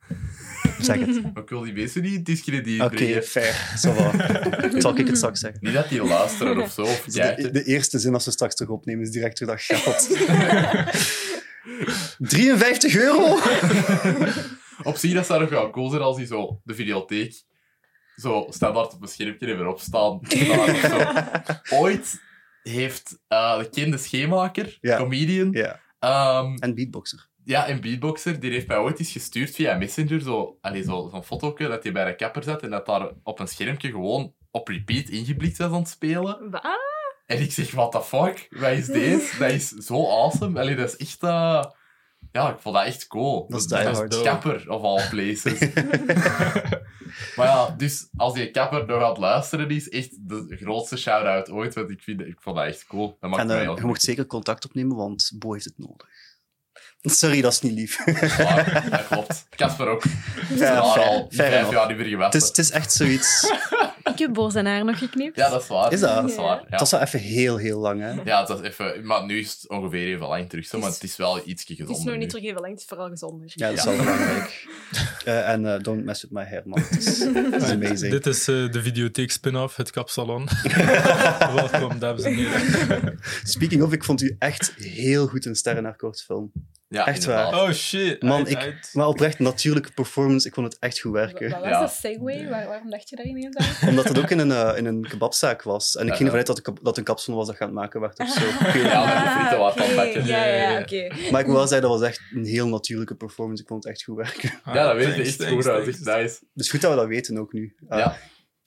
het. zeg het.
Maar Ik wil die mensen niet discrediteren.
Oké, fair. Zo wel. Zal ik het straks zeggen.
Niet dat die luisteren of zo. Of
Dus
kijken.
de, de eerste zin als we straks terug opnemen is direct weer dat geld. 53 euro?
Op zich, dat zou nog wel cool zijn als die zo de videotheek zo standaard op een schermpje hebben opstaan. Daar of zo. Ooit heeft eh, de kende schemaker,
Ja.
comedian,
Ja.
ehm,
En beatboxer.
Ja, een beatboxer, die heeft mij ooit eens gestuurd via Messenger, zo, allee, zo, zo'n fotootje dat hij bij de kapper zat en dat daar op een schermpje gewoon op repeat ingeblikt was aan het spelen.
Wat?
En ik zeg, what the fuck, wat is dit? Dat is zo awesome. Allee, dat is echt... eh, Ja, ik vond dat echt cool.
Dat is die
dat
hard.
is kapper, of all places. maar ja, dus als die kapper nog aan het luisteren is, echt de grootste shout-out ooit, want ik, vind, ik vond dat echt cool. Dat maakt
En
mij
eh,
heel
je mocht zeker contact opnemen, want Bo heeft het nodig. Sorry, dat is niet lief.
Maar, dat klopt. Kasper ook.
Ja,
Ja,
fair-
al
fair
vijf
enough.
jaar niet meer geweest.
Het is, het is echt zoiets.
Ik heb boos en haar nog geknipt.
Ja, dat is waar.
Is dat?
is waar.
Het
Ja.
was wel even heel, heel lang, hè?
ja, dat is even. Maar nu is het ongeveer even lang terug, zo, maar het is wel iets gezonder.
Het is nog
nu.
niet terug even lang, het is vooral gezonder.
Ja, dat is
Ja.
wel belangrijk. Eh, en eh, don't mess with my hair, man. Het is, het is
Maar
amazing.
Dit is eh, de videotheek spin-off, het kapsalon. Welkom, dames en heren.
Speaking of, ik vond u echt heel goed in Sterren naar Kortfilm.
Ja,
Echt waar.
inderdaad.
Oh shit.
Man,
Uit,
ik-
uit.
Maar oprecht, natuurlijke performance, ik vond het echt goed werken.
Wat was
Ja.
dat segue? Waar- waarom dacht je daar ineens aan?
Omdat het ook in een, eh, in een kebabzaak was. En ik
Ja,
ging ervan
ja.
uit dat, de keb- dat een kapsel was dat gaan maken werd of zo. Ik weet het
Ja,
niet.
maar de frieten wat dan
Ah, oké.
pakken.
Ja,
Ja, ja,
ja,
ja.
oké.
Maar ik moet wel zeggen, dat was echt een heel natuurlijke performance. Ik vond het echt goed werken.
Ja, dat weet je
Oh, Ah, Thanks,
echt
thanks,
goed. Dat is
thanks.
echt nice.
Dus goed dat we dat weten ook nu. Ah,
Ja.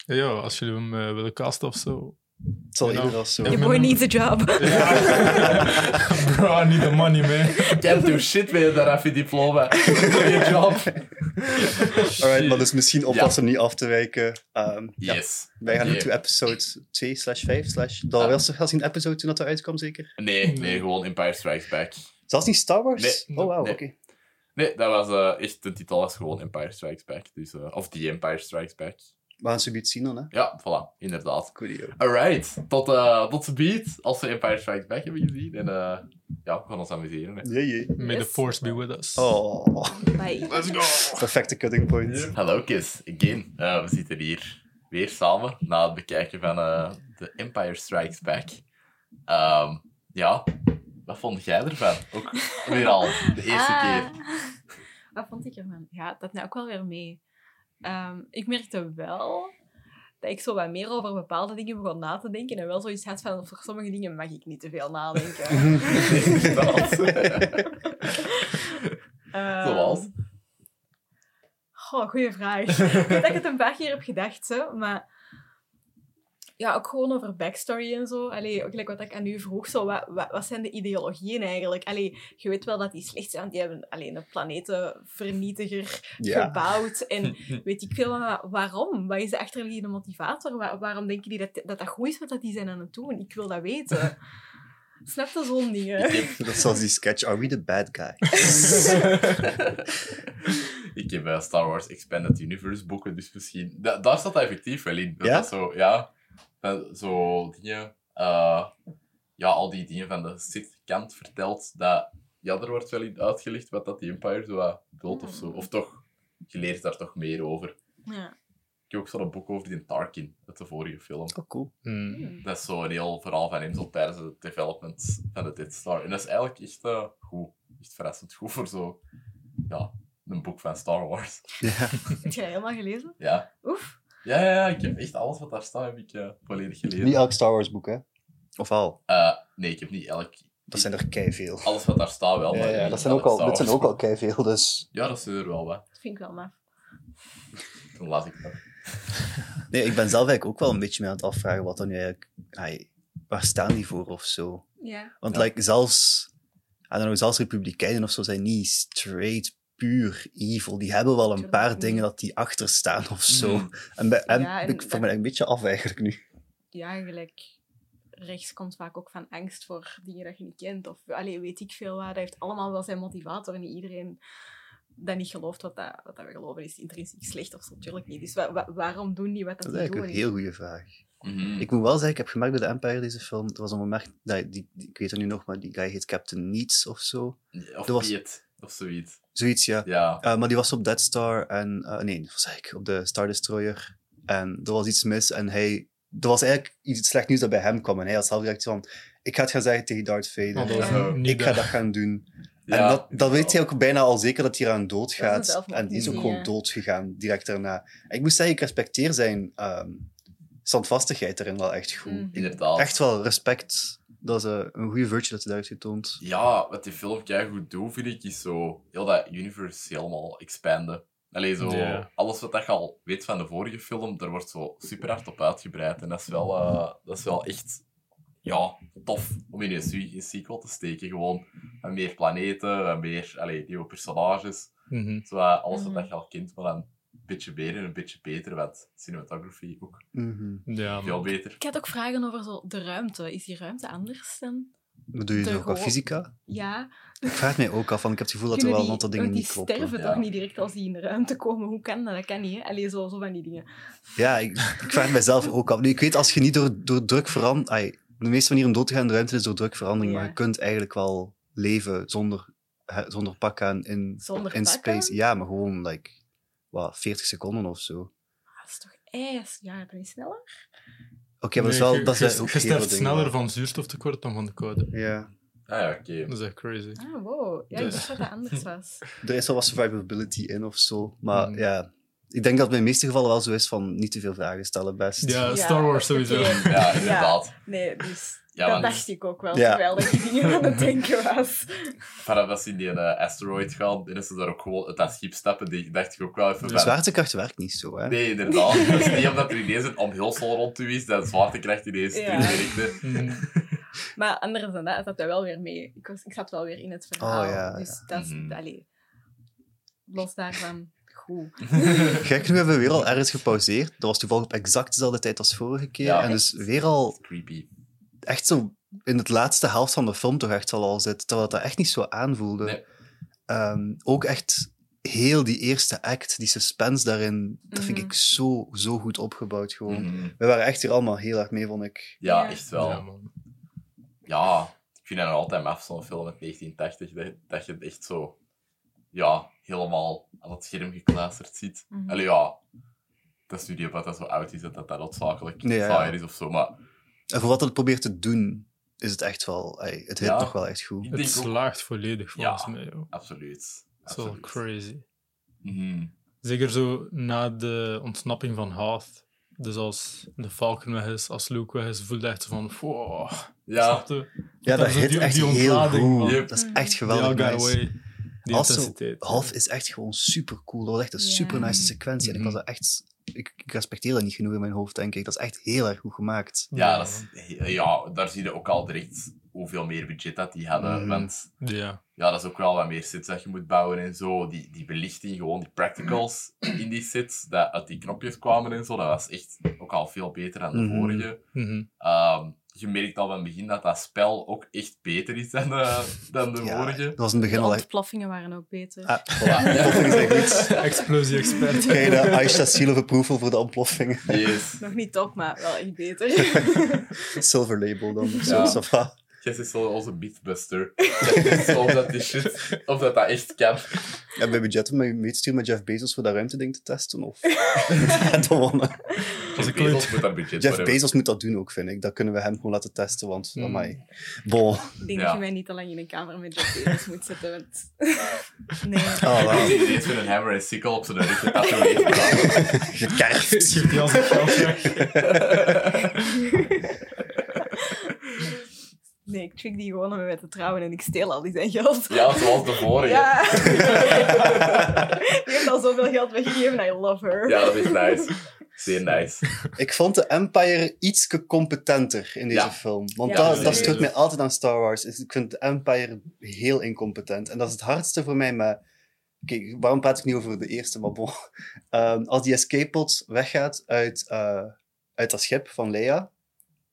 Ja, joh, als jullie hem eh, willen casten of zo.
Het zal
Ja.
eerder als zo.
Ja.
Your boy needs a job.
Bro, I need the money, man.
Can't do shit met dat diploma. Goeie job.
Alright, maar dus misschien oppassen om niet af te wijken. Ehm, ja.
Yes.
Wij gaan nu
Oké.
toe episode 2 slash 5 slash... Dat
Ah.
was toch als een episode toen dat eruit kwam, zeker?
Nee, nee, gewoon Empire Strikes Back.
Zelfs niet Star Wars?
Nee.
oh, wauw,
Nee.
oké.
Nee, dat was eh, echt, de titel was gewoon Empire Strikes Back. Dus, eh, of The Empire Strikes Back.
We gaan ze biedt zien dan, hè?
Ja, voilà, inderdaad.
Coolio.
Alright, tot, eh tot de beat als we Empire Strikes Back hebben gezien. En eh, ja, we gaan ons amuseren. hè.
Jee, jee.
May the
Yes.
force be with us.
Oh,
Bye.
Let's go!
perfecte cutting point.
Hallo kids, again. Eh, we zitten hier weer samen na het bekijken van eh The Empire Strikes Back. Ehm, ja, wat vond jij ervan? Ook weer al de eerste
Ah.
keer.
Oké, Wat vond ik ervan? Ja, dat nou ook wel weer mee. Ehm, ik merkte wel dat ik zo wat meer over bepaalde dingen begon na te denken. En wel zoiets had van, voor sommige dingen mag ik niet te veel nadenken. Ehm,
Zoals?
Goh, goede vraag. ik weet dat ik het een paar keer heb gedacht, hè, maar... Ja, ook gewoon over backstory en zo. Allee, ook gelijk wat ik aan u vroeg, zo, wat, wat, wat zijn de ideologieën eigenlijk? Allee, je weet wel dat die slecht zijn, want die hebben alleen een planetenvernietiger
Ja.
gebouwd. En weet ik veel, maar waarom? Wat is de achterliggende motivator? Wa- waarom denken die dat, dat dat goed is wat dat die zijn aan het doen? Ik wil dat weten. Snap dat zo'n dingen?
Ik heb,
Dat is zoals die sketch, Are We The Bad Guy?
ik heb eh, Star Wars Expanded Universe boeken, dus misschien... Da- daar staat dat effectief wel in. Dat
Ja?
dat zo, ja. Dat zo dingen... eh, ja, al die dingen van de Sith-kant vertelt dat... Ja, er wordt wel in uitgelegd wat dat die Empire zo wat dood of zo. Of toch, je leert daar toch meer over.
Ja.
Ik heb ook zo'n boek over die Tarkin, uit de vorige film.
Oh, cool.
Hmm.
Dat is zo'n heel verhaal van hem zo tijdens de development van de Dead Star. En dat is eigenlijk echt eh, goed. Echt verrassend goed voor zo... Ja, een boek van Star Wars.
Ja.
Heb je dat helemaal gelezen?
Ja.
Oef.
Ja, ja, ja, ik heb echt alles wat daar staat, heb ik eh, volledig gelezen.
Niet elk Star Wars boek, hè? Of al?
Eh, nee, ik heb niet elk...
Dat zijn er kei veel.
Alles wat daar staat wel, maar... niet
dat zijn ook
elk
al,
Star
dit zijn
Wars
ook al kei veel, dus.
boek. Ja, dat zijn er wel wat.
Dat vind ik wel maf.
Dan laat ik dat.
Nee, ik ben zelf eigenlijk ook wel een beetje mee aan het afvragen wat dan nu eigenlijk. ai, waar staan die voor of zo?
Ja.
Want
Ja.
like, zelfs, I don't know, zelfs republikeinen of zo zijn niet straight puur evil. Die hebben wel een
Tuurlijk
paar
niet.
dingen dat die achter staan of zo.
Mm.
En, bij, en
Ja, en
ik
dat-
voel me een beetje af eigenlijk nu.
ja, eigenlijk rechts komt vaak ook van angst voor dingen dat je niet kent. Of allee, weet ik veel wat. Dat heeft allemaal wel zijn motivator. En niet iedereen dat niet gelooft wat, dat, wat dat we geloven is intrinsiek slecht of zo. Natuurlijk niet. Dus wa- wa- waarom doen die wat dat, die
Dat is eigenlijk
doen?
een heel goede vraag.
Mhm.
Ik moet wel zeggen, ik heb gemerkt bij de Empire deze film, er was een moment, dat, die, die- ik weet het nu nog, maar die guy heet Captain Niets of zo.
Of
Er was-
Piet, of zoiets.
Zoiets, ja.
Ja.
Eh, maar die was op Dead Star en... eh, nee, dat was eigenlijk op de Star Destroyer. En er was iets mis en hij... Er was eigenlijk iets slecht nieuws dat bij hem kwam. En hij had zelf direct van... Ik ga het gaan zeggen tegen Darth Vader.
Want Oh, dat is
Ja.
niet
ik ga dat gaan doen.
ja.
en dat, dat weet hij ook bijna al zeker dat hij eraan doodgaat.
Dat is een
en die is ook
zelfmoord,
gewoon
ja.
doodgegaan direct daarna. En ik moet zeggen, ik respecteer zijn ehm, standvastigheid erin wel echt goed.
Mm.
Ik-
Inderdaad.
Echt wel respect. Dat is eh, een goede virtue dat hij daar heeft getoond.
Ja, wat die film goed doet, vind ik, is zo heel dat universe helemaal expanden. Allee, zo,
Ja.
alles wat dat je al weet van de vorige film, daar wordt zo super hard op uitgebreid. En dat is wel, eh, dat is wel echt ja, tof om in een, se- een sequel te steken. Gewoon wat meer planeten, wat meer allee, nieuwe personages.
Mhm.
Zo, eh, alles wat
Mhm.
dat je al kent, maar dan een beetje meer en een beetje beter. Want cinematography ook
Mhm.
Ja,
veel beter.
Ik had ook vragen over zo de ruimte. Is die ruimte anders dan?
Wat doe je
De
nog qua
gewo-
fysica?
Ja.
Ik vraag het mij ook af, want ik heb het gevoel dat er
Kunnen
wel een
die-
aantal dingen
want
niet
Die
kloppen.
sterven
Ja.
toch niet direct als die in de ruimte komen? Hoe kan dat? Dat kan niet, hè? Allee, zo, zo van die dingen.
Ja, ik, ik vraag het mezelf ook af. Nu, ik weet, als je niet door, door druk verandert... ai, De meeste manier om dood te gaan in de ruimte is door drukverandering,
Ja.
maar je kunt eigenlijk wel leven zonder, hè, zonder pak aan in,
Zonder
in
pak
space.
aan?
Ja, maar gewoon, like, wat, 40 seconden of zo. Oké,
Ah, dat is toch ijs? Ja, dat is sneller.
maar dat is
Nee,
wel...
je-
Dat is
je-
ook heel
je
veel
sterft
dingen.
sneller van zuurstoftekort dan van de koude.
Ja.
Ah ja, oké.
Dat is echt crazy.
Ah, wow. Ja, ik
Dus-
dacht dat dat anders was.
Er is wel wat survivability in of zo, maar
Mm.
ja... Ik denk dat het in de meeste gevallen wel zo is van niet te veel vragen stellen, best.
Ja,
Ja,
Star Wars
oké.
sowieso.
Ja, inderdaad.
Nee, dus
Ja,
dat
want-
dacht ik ook wel,
Ja.
terwijl ik die dingen aan het denken was.
Vanaf als ze in die eh, asteroid gaan, en dat ze daar ook gewoon uit dat schip stappen, die dacht ik ook wel even
De
van-
zwaartekracht werkt niet zo, hè?
Nee, inderdaad. Het is niet omdat er ineens een omhulsel rond u is, dat zwaartekracht ineens
Ja.
terugwerkt. hè.
Mhm.
Maar anders dan dat zat hij wel weer mee. Ik, was, ik zat wel weer in het verhaal.
Oh, ja,
dus dat is...
Mhm.
Allee, los daarvan, goed.
Gek, nu hebben we weer al ergens gepauzeerd. Dat was toevallig op exact dezelfde tijd als vorige keer.
Ja.
En dus weer al
Creepy.
echt zo in het laatste helft van de film toch echt al al zit. Terwijl dat echt niet zo aanvoelde.
Nee.
Ehm, ook echt heel die eerste act, die suspense daarin, dat vind
Mhm.
ik zo, zo goed opgebouwd gewoon.
Mhm.
We waren echt hier allemaal heel erg mee, vond ik.
Ja,
Ja.
echt
Ja,
wel.
man.
Ja, ik vind dat nog altijd maf, zo'n film uit 1980, dat, dat je het echt zo, ja, helemaal aan het scherm gekluisterd ziet.
Mhm.
Allee, ja, dat is nu niet wat dat zo oud is, dat dat noodzakelijk
Nee, ja, ja.
saaier is of zo, maar
En voor wat het probeert te doen, is het echt wel... ey, het hit
Ja.
nog wel echt goed.
ik
Het
denk ook,
slaagt volledig volgens
Ja.
mij. joh.
absoluut.
is wel
Absoluut.
crazy.
Mhm.
Zeker zo na de ontsnapping van Hath. Dus als de Falcon weg is, als Luke weg is, voel je echt zo van... Wow,
Ja,
snap je?
Ja, dat
is zo
hit
die-
echt
die
heel
ontlading, man.
goed.
Yep.
Dat is echt
Die All
geweldig
Got
nice.
Away. Die
Also,
intensiteit.
Half is echt gewoon super cool. Dat was echt een
Ja.
super nice sequentie. En ik
Mhm.
was dat echt... Ik, ik respecteer dat niet genoeg in mijn hoofd, denk ik. Dat is echt heel erg goed gemaakt.
ja, dat is, ja, daar zie je ook al direct hoeveel meer budget dat die hadden.
Mhm.
Want
Ja.
ja, dat is ook wel wat meer sets dat je moet bouwen en zo. Die, die belichting, gewoon die practicals in die sets, dat uit die knopjes kwamen en zo, dat was echt ook al veel beter dan de
Mhm.
vorige.
Mhm.
Ehm, je merkt al van het begin dat dat spel ook echt beter is dan de, dan de
Ja,
vorige.
dat was in het begin
De
al echt...
ontploffingen waren ook beter.
Ah, voilà. Ontploffingen zijn goed.
Explosie-expert.
Krijg je de Aisha Seal of Approval voor de ontploffingen.
Yes.
Nog niet top, maar wel echt beter.
Silver label dan. of
Ja.
Zo, ça va.
Jess is zo onze beatbuster. Jess is zo of dat die shit, of dat dat echt kan.
En bij budget om mee te sturen met Jeff Bezos voor dat ruimteding te testen? Of... Dan wonnen.
Jeff
ik
Bezos
ooit-
moet daar budget
Jeff
voor hebben.
Bezos moet dat doen ook, vind ik. Dat kunnen we hem gewoon laten testen, want
Mm.
amai. Bon.
Ik denk
Ja.
dat je mij niet te lang in een kamer met Jeff Bezos moet zetten, want... Nee.
Ik
Oh, wow.
zie ineens met een hammer en sikkel op zijn rug getatoeëerd.
Gekerfd.
Geeft die als een geld weg.
nee, ik trick die gewoon om met te trouwen en ik steel al die zijn geld.
Ja, zoals de vorige. Ja,
Ja. die heeft al zoveel geld weggegeven, I love her.
dat is nice. Zeer nice.
Ik vond de Empire iets competenter in deze
Ja.
film. Want
Ja,
dat,
absoluut.
dat stoort mij altijd aan Star Wars. is- Ik vind de Empire heel incompetent. En dat is het hardste voor mij, maar... Kijk, waarom praat ik niet over de eerste, maar bon. Ehm, als die escape pod weggaat uit, eh, uit dat schip van Leia...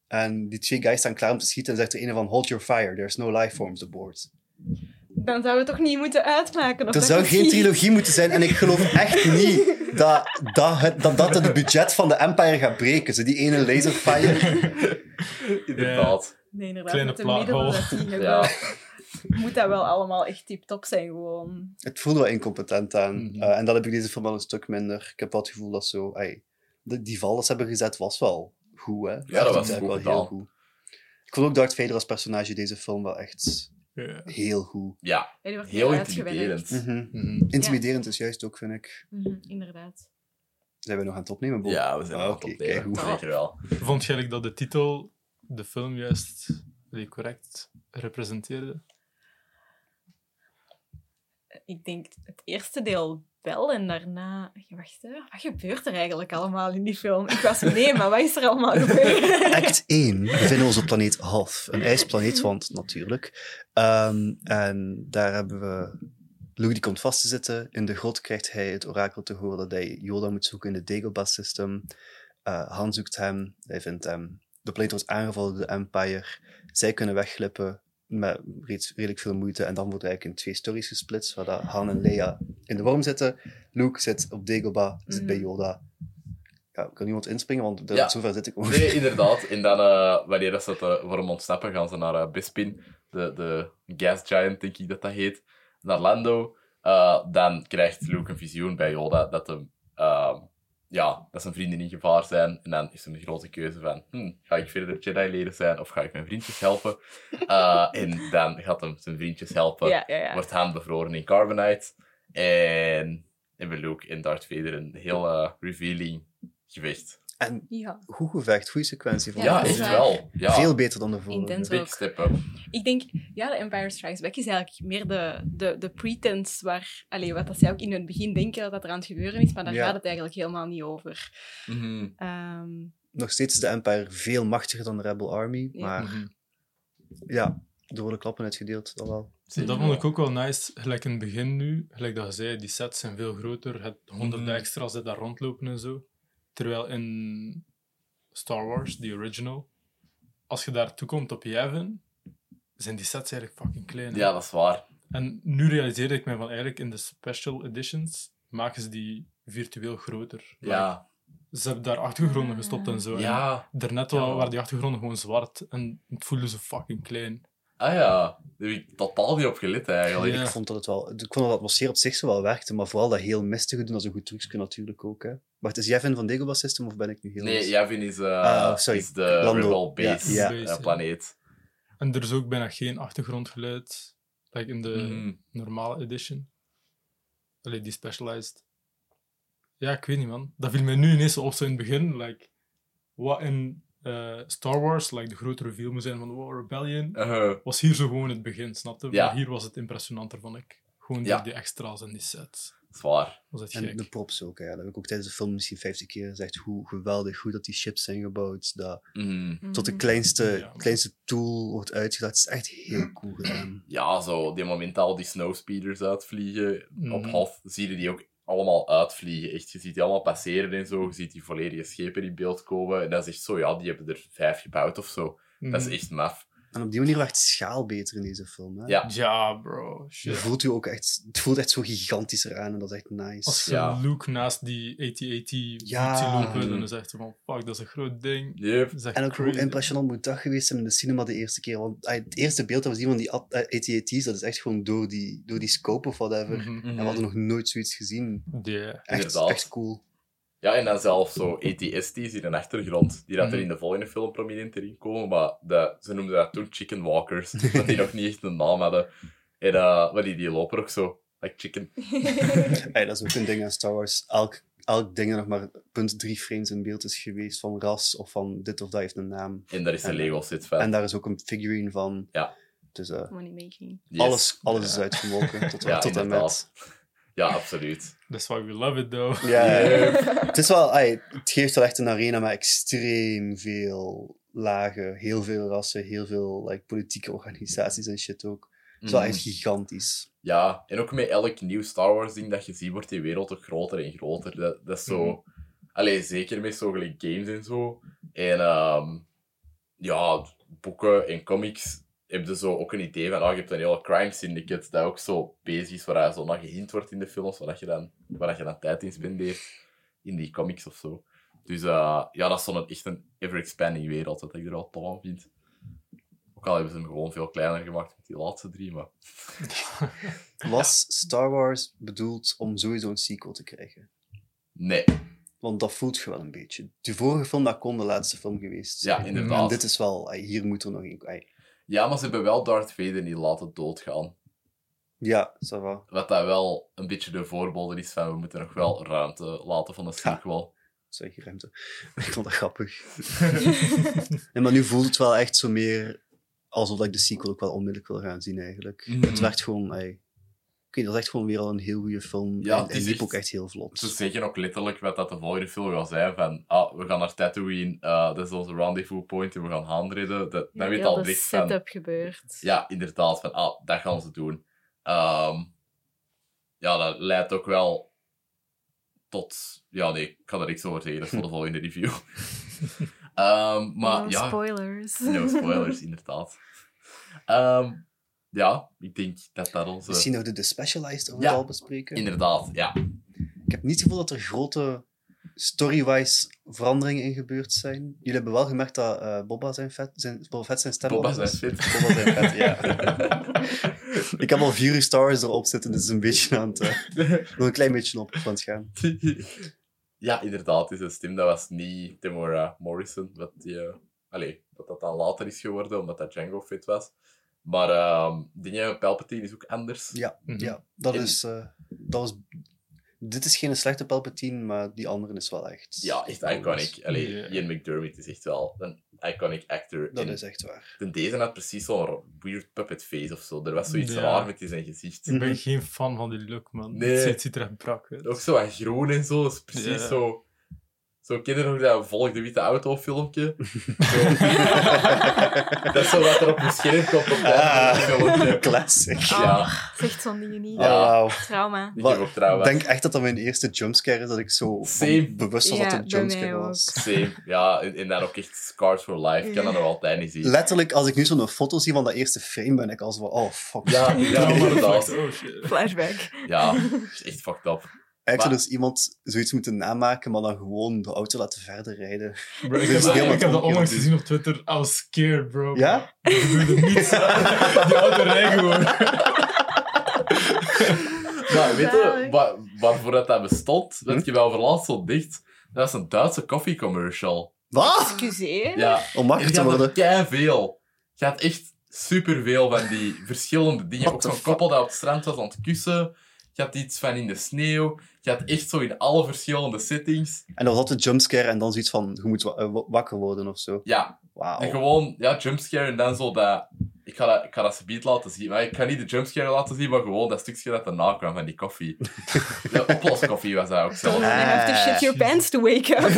En die twee guys staan klaar om te schieten en zegt er een van... Hold your fire, there's no life forms aboard.
Dan zouden we het toch niet moeten uitmaken? Of
Er
dat
zou
je
geen
ziet-
trilogie moeten zijn. En ik geloof echt niet dat dat het, dat, dat het budget van de Empire gaat breken. Zo die ene laserfire.
Inderdaad.
Nee, inderdaad.
Kleine
met de middelen
plaathol.
dat die hebben,
Ja.
Moet dat wel allemaal echt tip-top zijn, gewoon.
Het voelde wel incompetent aan.
Mhm.
Eh, en dat heb ik deze film wel een stuk minder. Ik heb wel het gevoel dat zo... ai, de- die val dat ze hebben gezet was wel goed, hè?
Ja, dat was
eigenlijk
goed
wel heel
gedaan.
goed. Ik vond ook Darth Vader als personage in deze film wel echt
Ja.
heel goed.
Ja,
Ja, die wordt
heel
uitgewerkt.
intimiderend.
Mhm.
Mhm.
Intimiderend is juist ook, vind ik.
Mhm, inderdaad.
Zijn we nog aan het opnemen, Bob?
Ja, we zijn
Ah,
wel
oké,
op
keigoed.
Zeker wel.
Vond je eigenlijk dat de titel de film juist die correct representeerde?
Ik denk het eerste deel wel en daarna... Wacht, hè. wat gebeurt er eigenlijk allemaal in die film? Ik was mee, maar wat is er allemaal gebeurd?
Act 1 bevinden we ons op planeet Half. Een ijsplaneet, want natuurlijk. Ehm, en daar hebben we... Louis die komt vast te zitten. In de grot krijgt hij het orakel te horen dat hij Yoda moet zoeken in het Dagobah system. Eh, Han zoekt hem. Hij vindt hem. De planeet wordt aangevallen door de Empire. Zij kunnen wegglippen met reeds redelijk veel moeite. En dan wordt eigenlijk in twee stories gesplitst. Waar dat Han en Leia in de worm zitten. Luke zit op Dagobah, zit bij
Mhm.
Yoda. Ja, kan niemand inspringen, want
Ja.
zover zit ik ook.
Nee, inderdaad. En dan, eh, wanneer dat ze het eh, voor hem ontsnappen, gaan ze naar eh, Bespin, de, de gas giant, denk ik dat dat heet, naar Lando. Eh, dan krijgt Luke een visioen bij Yoda dat, hem, eh, ja, dat zijn vrienden in gevaar zijn. En dan is hem de grote keuze van, hm, ga ik verder Jedi leren zijn of ga ik mijn vriendjes helpen? Eh, en dan gaat hem zijn vriendjes helpen
Ja, ja, ja.
wordt Han bevroren in Carbonite. En hebben Luke en Darth Vader een heel eh, revealing gewicht.
En
ja.
goed gevecht, goede sequentie.
Ja,
vond ik.
dat is
echt
waar.
wel. Ja.
Veel beter dan de vorige.
Intens.
Big
ook.
step up.
Ik denk, ja, de Empire Strikes Back is eigenlijk meer de, de, de pretense waar... Allee, wat dat zij ook in het begin denken dat dat er aan het gebeuren is, maar daar
Ja.
gaat het eigenlijk helemaal niet over.
Mhm.
Ehm,
Nog steeds is de Empire veel machtiger dan de Rebel Army.
Ja.
Maar
Ah,
Mhm.
ja, er worden klappen uitgedeeld, dat wel.
Zeker
Dat
wel.
vond ik ook wel nice, gelijk in het begin nu. Gelijk dat je zei, die sets zijn veel groter. Het honderden
Mhm.
extra's dat daar rondlopen en zo. Terwijl in Star Wars, die original, als je daar toekomt op Yavin, zijn die sets eigenlijk fucking klein. hè.
Ja, dat is waar.
En nu realiseerde ik me van eigenlijk in de special editions maken ze die virtueel groter.
Ja.
Like, ze hebben daar achtergronden gestopt en zo. En
Ja.
daarnet wa-
Ja.
waren die achtergronden gewoon zwart en het voelde zo fucking klein.
Ah ja. Daar heb ik totaal niet op gelet eigenlijk.
Ja.
Ik vond dat het wel... Ik vond dat de atmosfeer op zich zo wel werkte, maar vooral dat heel mistige doen, dat is een goed trucje natuurlijk ook. Hè. Wacht, is Jevin van Dagobah System of ben ik nu heel... mis?
Nee, Yavin is, eh,
Ah, sorry.
is de
Lando.
Rebel Base
Ja,
ja.
eh, planeet.
En er is ook bijna geen achtergrondgeluid. Like in de
Mhm.
normale edition. Allee, die specialized. Ja, ik weet niet, man. Dat viel mij nu ineens op, zo in het begin. Like, wat in eh, Star Wars, like, de grote reveal moet zijn van wow, Rebellion,
Eh,
was hier zo gewoon het begin, snapte?
Ja.
Maar hier was het impressionanter, vond ik. Gewoon
Ja.
door die extra's en die sets.
zwaar.
Was het
En
gek.
de props ook. Ja. Dat heb ik ook tijdens de film misschien 50 keer gezegd. Hoe geweldig, hoe dat die ships zijn gebouwd. Dat
Mm.
tot
Mhm.
de kleinste,
Ja.
kleinste tool wordt uitgedacht. Het is echt heel cool gedaan.
Ja, zo, die moment al die snowspeeders uitvliegen. Op
Mhm.
half zie je die ook allemaal uitvliegen. Echt, je ziet die allemaal passeren en zo. Je ziet die volledige schepen in beeld komen. En dat is echt zo, ja, die hebben er vijf gebouwd of zo. Dat is
Mhm.
echt maf.
En op die manier werd schaal beter in deze film. Hè?
Ja.
Ja, bro.
Je
Shit.
voelt u ook echt, het voelt echt zo gigantischer aan en dat is echt nice.
Als ze
Ja. Mhm.
Luke naast die AT-AT
Ja.
ja. lopen, dan is het echt zo van, fuck, dat is een groot ding.
Yep.
Dat is echt
En ook hoe
crazy.
impressionant moet dat geweest zijn in de cinema de eerste keer. Want ah, het eerste beeld dat we zien van die at- eh, AT-AT's, dat is echt gewoon door die, door die scope of whatever.
Mhm.
En we hadden nog nooit zoiets gezien.
Yeah.
Echt,
Inderdaad.
echt cool.
Ja, en dan zelfs zo E ATST's in de achtergrond, die dat er
Mhm.
in de volgende film prominent erin komen, maar de, ze noemden dat toen Chicken Walkers, dat die nog niet echt een naam hadden. En eh, maar die, die lopen ook zo, like chicken.
Ey, dat is ook een ding aan Star Wars. Elk, elk ding dat nog maar punt drie frames in beeld is geweest van ras of van dit of dat heeft een naam.
En daar is een
En-
Lego set van.
En daar is ook een figurine van.
Ja.
Dus eh,
Moneymaking.
Yes.
alles, alles is
Ja.
uitgemolken tot,
ja,
tot en met.
inderdaad. Ja, absoluut. Ehm,
That's why we love it, though.
Ja, ja, ja. het is wel, ey, het geeft wel echt een arena met extreem veel lagen, heel veel rassen, heel veel like, politieke organisaties en shit ook. Het is wel
Mhm.
echt gigantisch.
Ja, en ook met elk nieuw Star Wars ding dat je ziet, wordt die wereld ook groter en groter. Dat, dat is zo... Allee, zeker met zo gelijk games en zo. En ehm, ja, boeken en comics heb je zo ook een idee van, ah, je hebt een hele crime syndicate dat ook zo bezig is, waar zo naar gehind wordt in de films, waar, dat je, dan, waar dat je dan tijd in spendeert in die comics of zo. Dus eh, ja, dat is zo'n echt een ever-expanding wereld, wat ik er wel tof aan vind. Ook al hebben ze hem gewoon veel kleiner gemaakt met die laatste drie, maar...
Mhm.
Was Star Wars bedoeld om sowieso een sequel te krijgen?
Nee,
Want dat voelt je wel een beetje. De vorige film, dat kon de laatste film geweest zijn.
Dus ja,
En
inderdaad.
dit is wel, ey, hier moet er nog een... ey,
Ja, maar ze hebben wel Darth Vader niet laten doodgaan.
Ja, ça va.
Wat dat wel een beetje de voorbode is van, we moeten nog wel ruimte laten van de sequel.
Zeg je ruimte. Ik vond dat grappig. nee, maar nu voelt het wel echt zo meer alsof ik de sequel ook wel onmiddellijk wil gaan zien, eigenlijk.
Mhm.
Het werd gewoon... ey, Ik weet, dat is echt gewoon weer al een heel goede film.
Ja,
en,
het
en
is
liep
echt-
ook echt heel vlot.
Ze zeggen ook letterlijk wat dat de volgende film gaat zijn, van, ah, we gaan naar Tatooine, eh, dat is onze rendezvous point en we gaan handreden. Dat, dan weet je al
de
direct van...
setup gebeurt.
Ja, inderdaad, van, ah, dat gaan ze doen. Ehm, ja, dat leidt ook wel tot... Ja, nee, ik kan er niks over zeggen, dat is voor de volgende review. Ehm, maar
no
ja,
spoilers.
No spoilers, inderdaad. Ehm, ja, ik denk dat dat onze...
Misschien nog de, de Specialized over
eh, Ja,
het al bespreken.
Inderdaad, ja.
Ik heb niet het gevoel dat er grote story-wise veranderingen in gebeurd zijn. Jullie hebben wel gemerkt dat eh, Boba zijn vet zijn, Boba Fett zijn stem
Boba
anders is.
zijn fit.
Boba zijn vet, ja. Ik heb al vier uur Star Wars erop zitten, dus een beetje aan het... eh, nog een klein beetje op aan het gaan.
ja, inderdaad, is een stem. Dat was niet Tamora Morrison, wat die... eh, allee, dat dat dan later is geworden, omdat dat Django fit was. Maar ehm dingen, Palpatine is ook anders.
Ja,
Mhm.
ja dat,
En-
is, eh, dat was... Dit is geen slechte Palpatine, maar die andere is wel echt...
Ja, echt iconic. Allee,
Ja.
Ian McDermott is echt wel een iconic actor.
Dat
En
is echt waar.
ten deze had precies zo'n weird puppet face of zo. Er was zoiets
Ja.
raar met in zijn gezicht.
Mhm.
Ik ben geen fan van die look, man.
Nee.
Het ziet- Het ziet er echt brak uit.
Ook zo wat groen en zo. Dat is precies
Ja.
zo... Zo kinderen nog dat volg de witte auto filmpje. Zo. dat is zo wat er op je scherm komt op dat filmpje.
Ah, classic.
Ja,
Ah.
Zegt zo'n dingen niet.
Ja.
Oh, wauw.
Trauma.
ik
Wat-
heb ook trouwens.
denk echt dat dat mijn eerste jumpscare is, dat ik zo van
Same.
bewust was
Ja,
dat het een
bij
jumpscare
mij
was.
Same. Ja, en, en dan ook echt Scars for Life. Ik kan dat nog altijd niet zien.
Letterlijk, als ik nu zo'n foto zie van dat eerste frame, ben ik al zo van, oh fuck.
Ja, ja, inderdaad.
Oh, shit.
Flashback.
Ja, is echt fucked up.
Eigenlijk zou
Maar-
dus iemand zoiets moeten namaken, maar dan gewoon de auto laten verder rijden.
Bro, ik
Dit
heb,
is
dat-
helemaal
ik heb dat
omgekeerd,
onlangs
dit.
gezien op Twitter. I was scared, bro.
Ja?
Ik bedoelde niets. Die auto rijdt gewoon.
Maar weet je,
Zalig.
wa- waarvoor dat, dat bestond?
Hm?
Dat je wel verlaat zo dicht. Dat is een Duitse koffiecommercial.
Wat?
Excuseer.
Ja,
Om wakker
Je
te
gaat er
worden.
kei veel. Je had echt superveel van die verschillende dingen.
What
Ook
the
zo'n
fuck?
koppel dat op het strand was aan het kussen. Je had iets van in de sneeuw. Je had echt zo in alle verschillende settings.
En dat was altijd jumpscare en dan zoiets van, je moet wa- eh, wa- wakker worden of zo.
Ja, en
Wauw.
gewoon ja, jumpscare en dan zo dat... Ik ga dat, ik ga dat ze beat laten zien. Maar ik ga niet de jumpscare laten zien, maar gewoon dat stukje dat erna kwam van die koffie. de oploskoffie was dat ook
Don't
zelf.
have
Ah.
to shit your pants to wake up.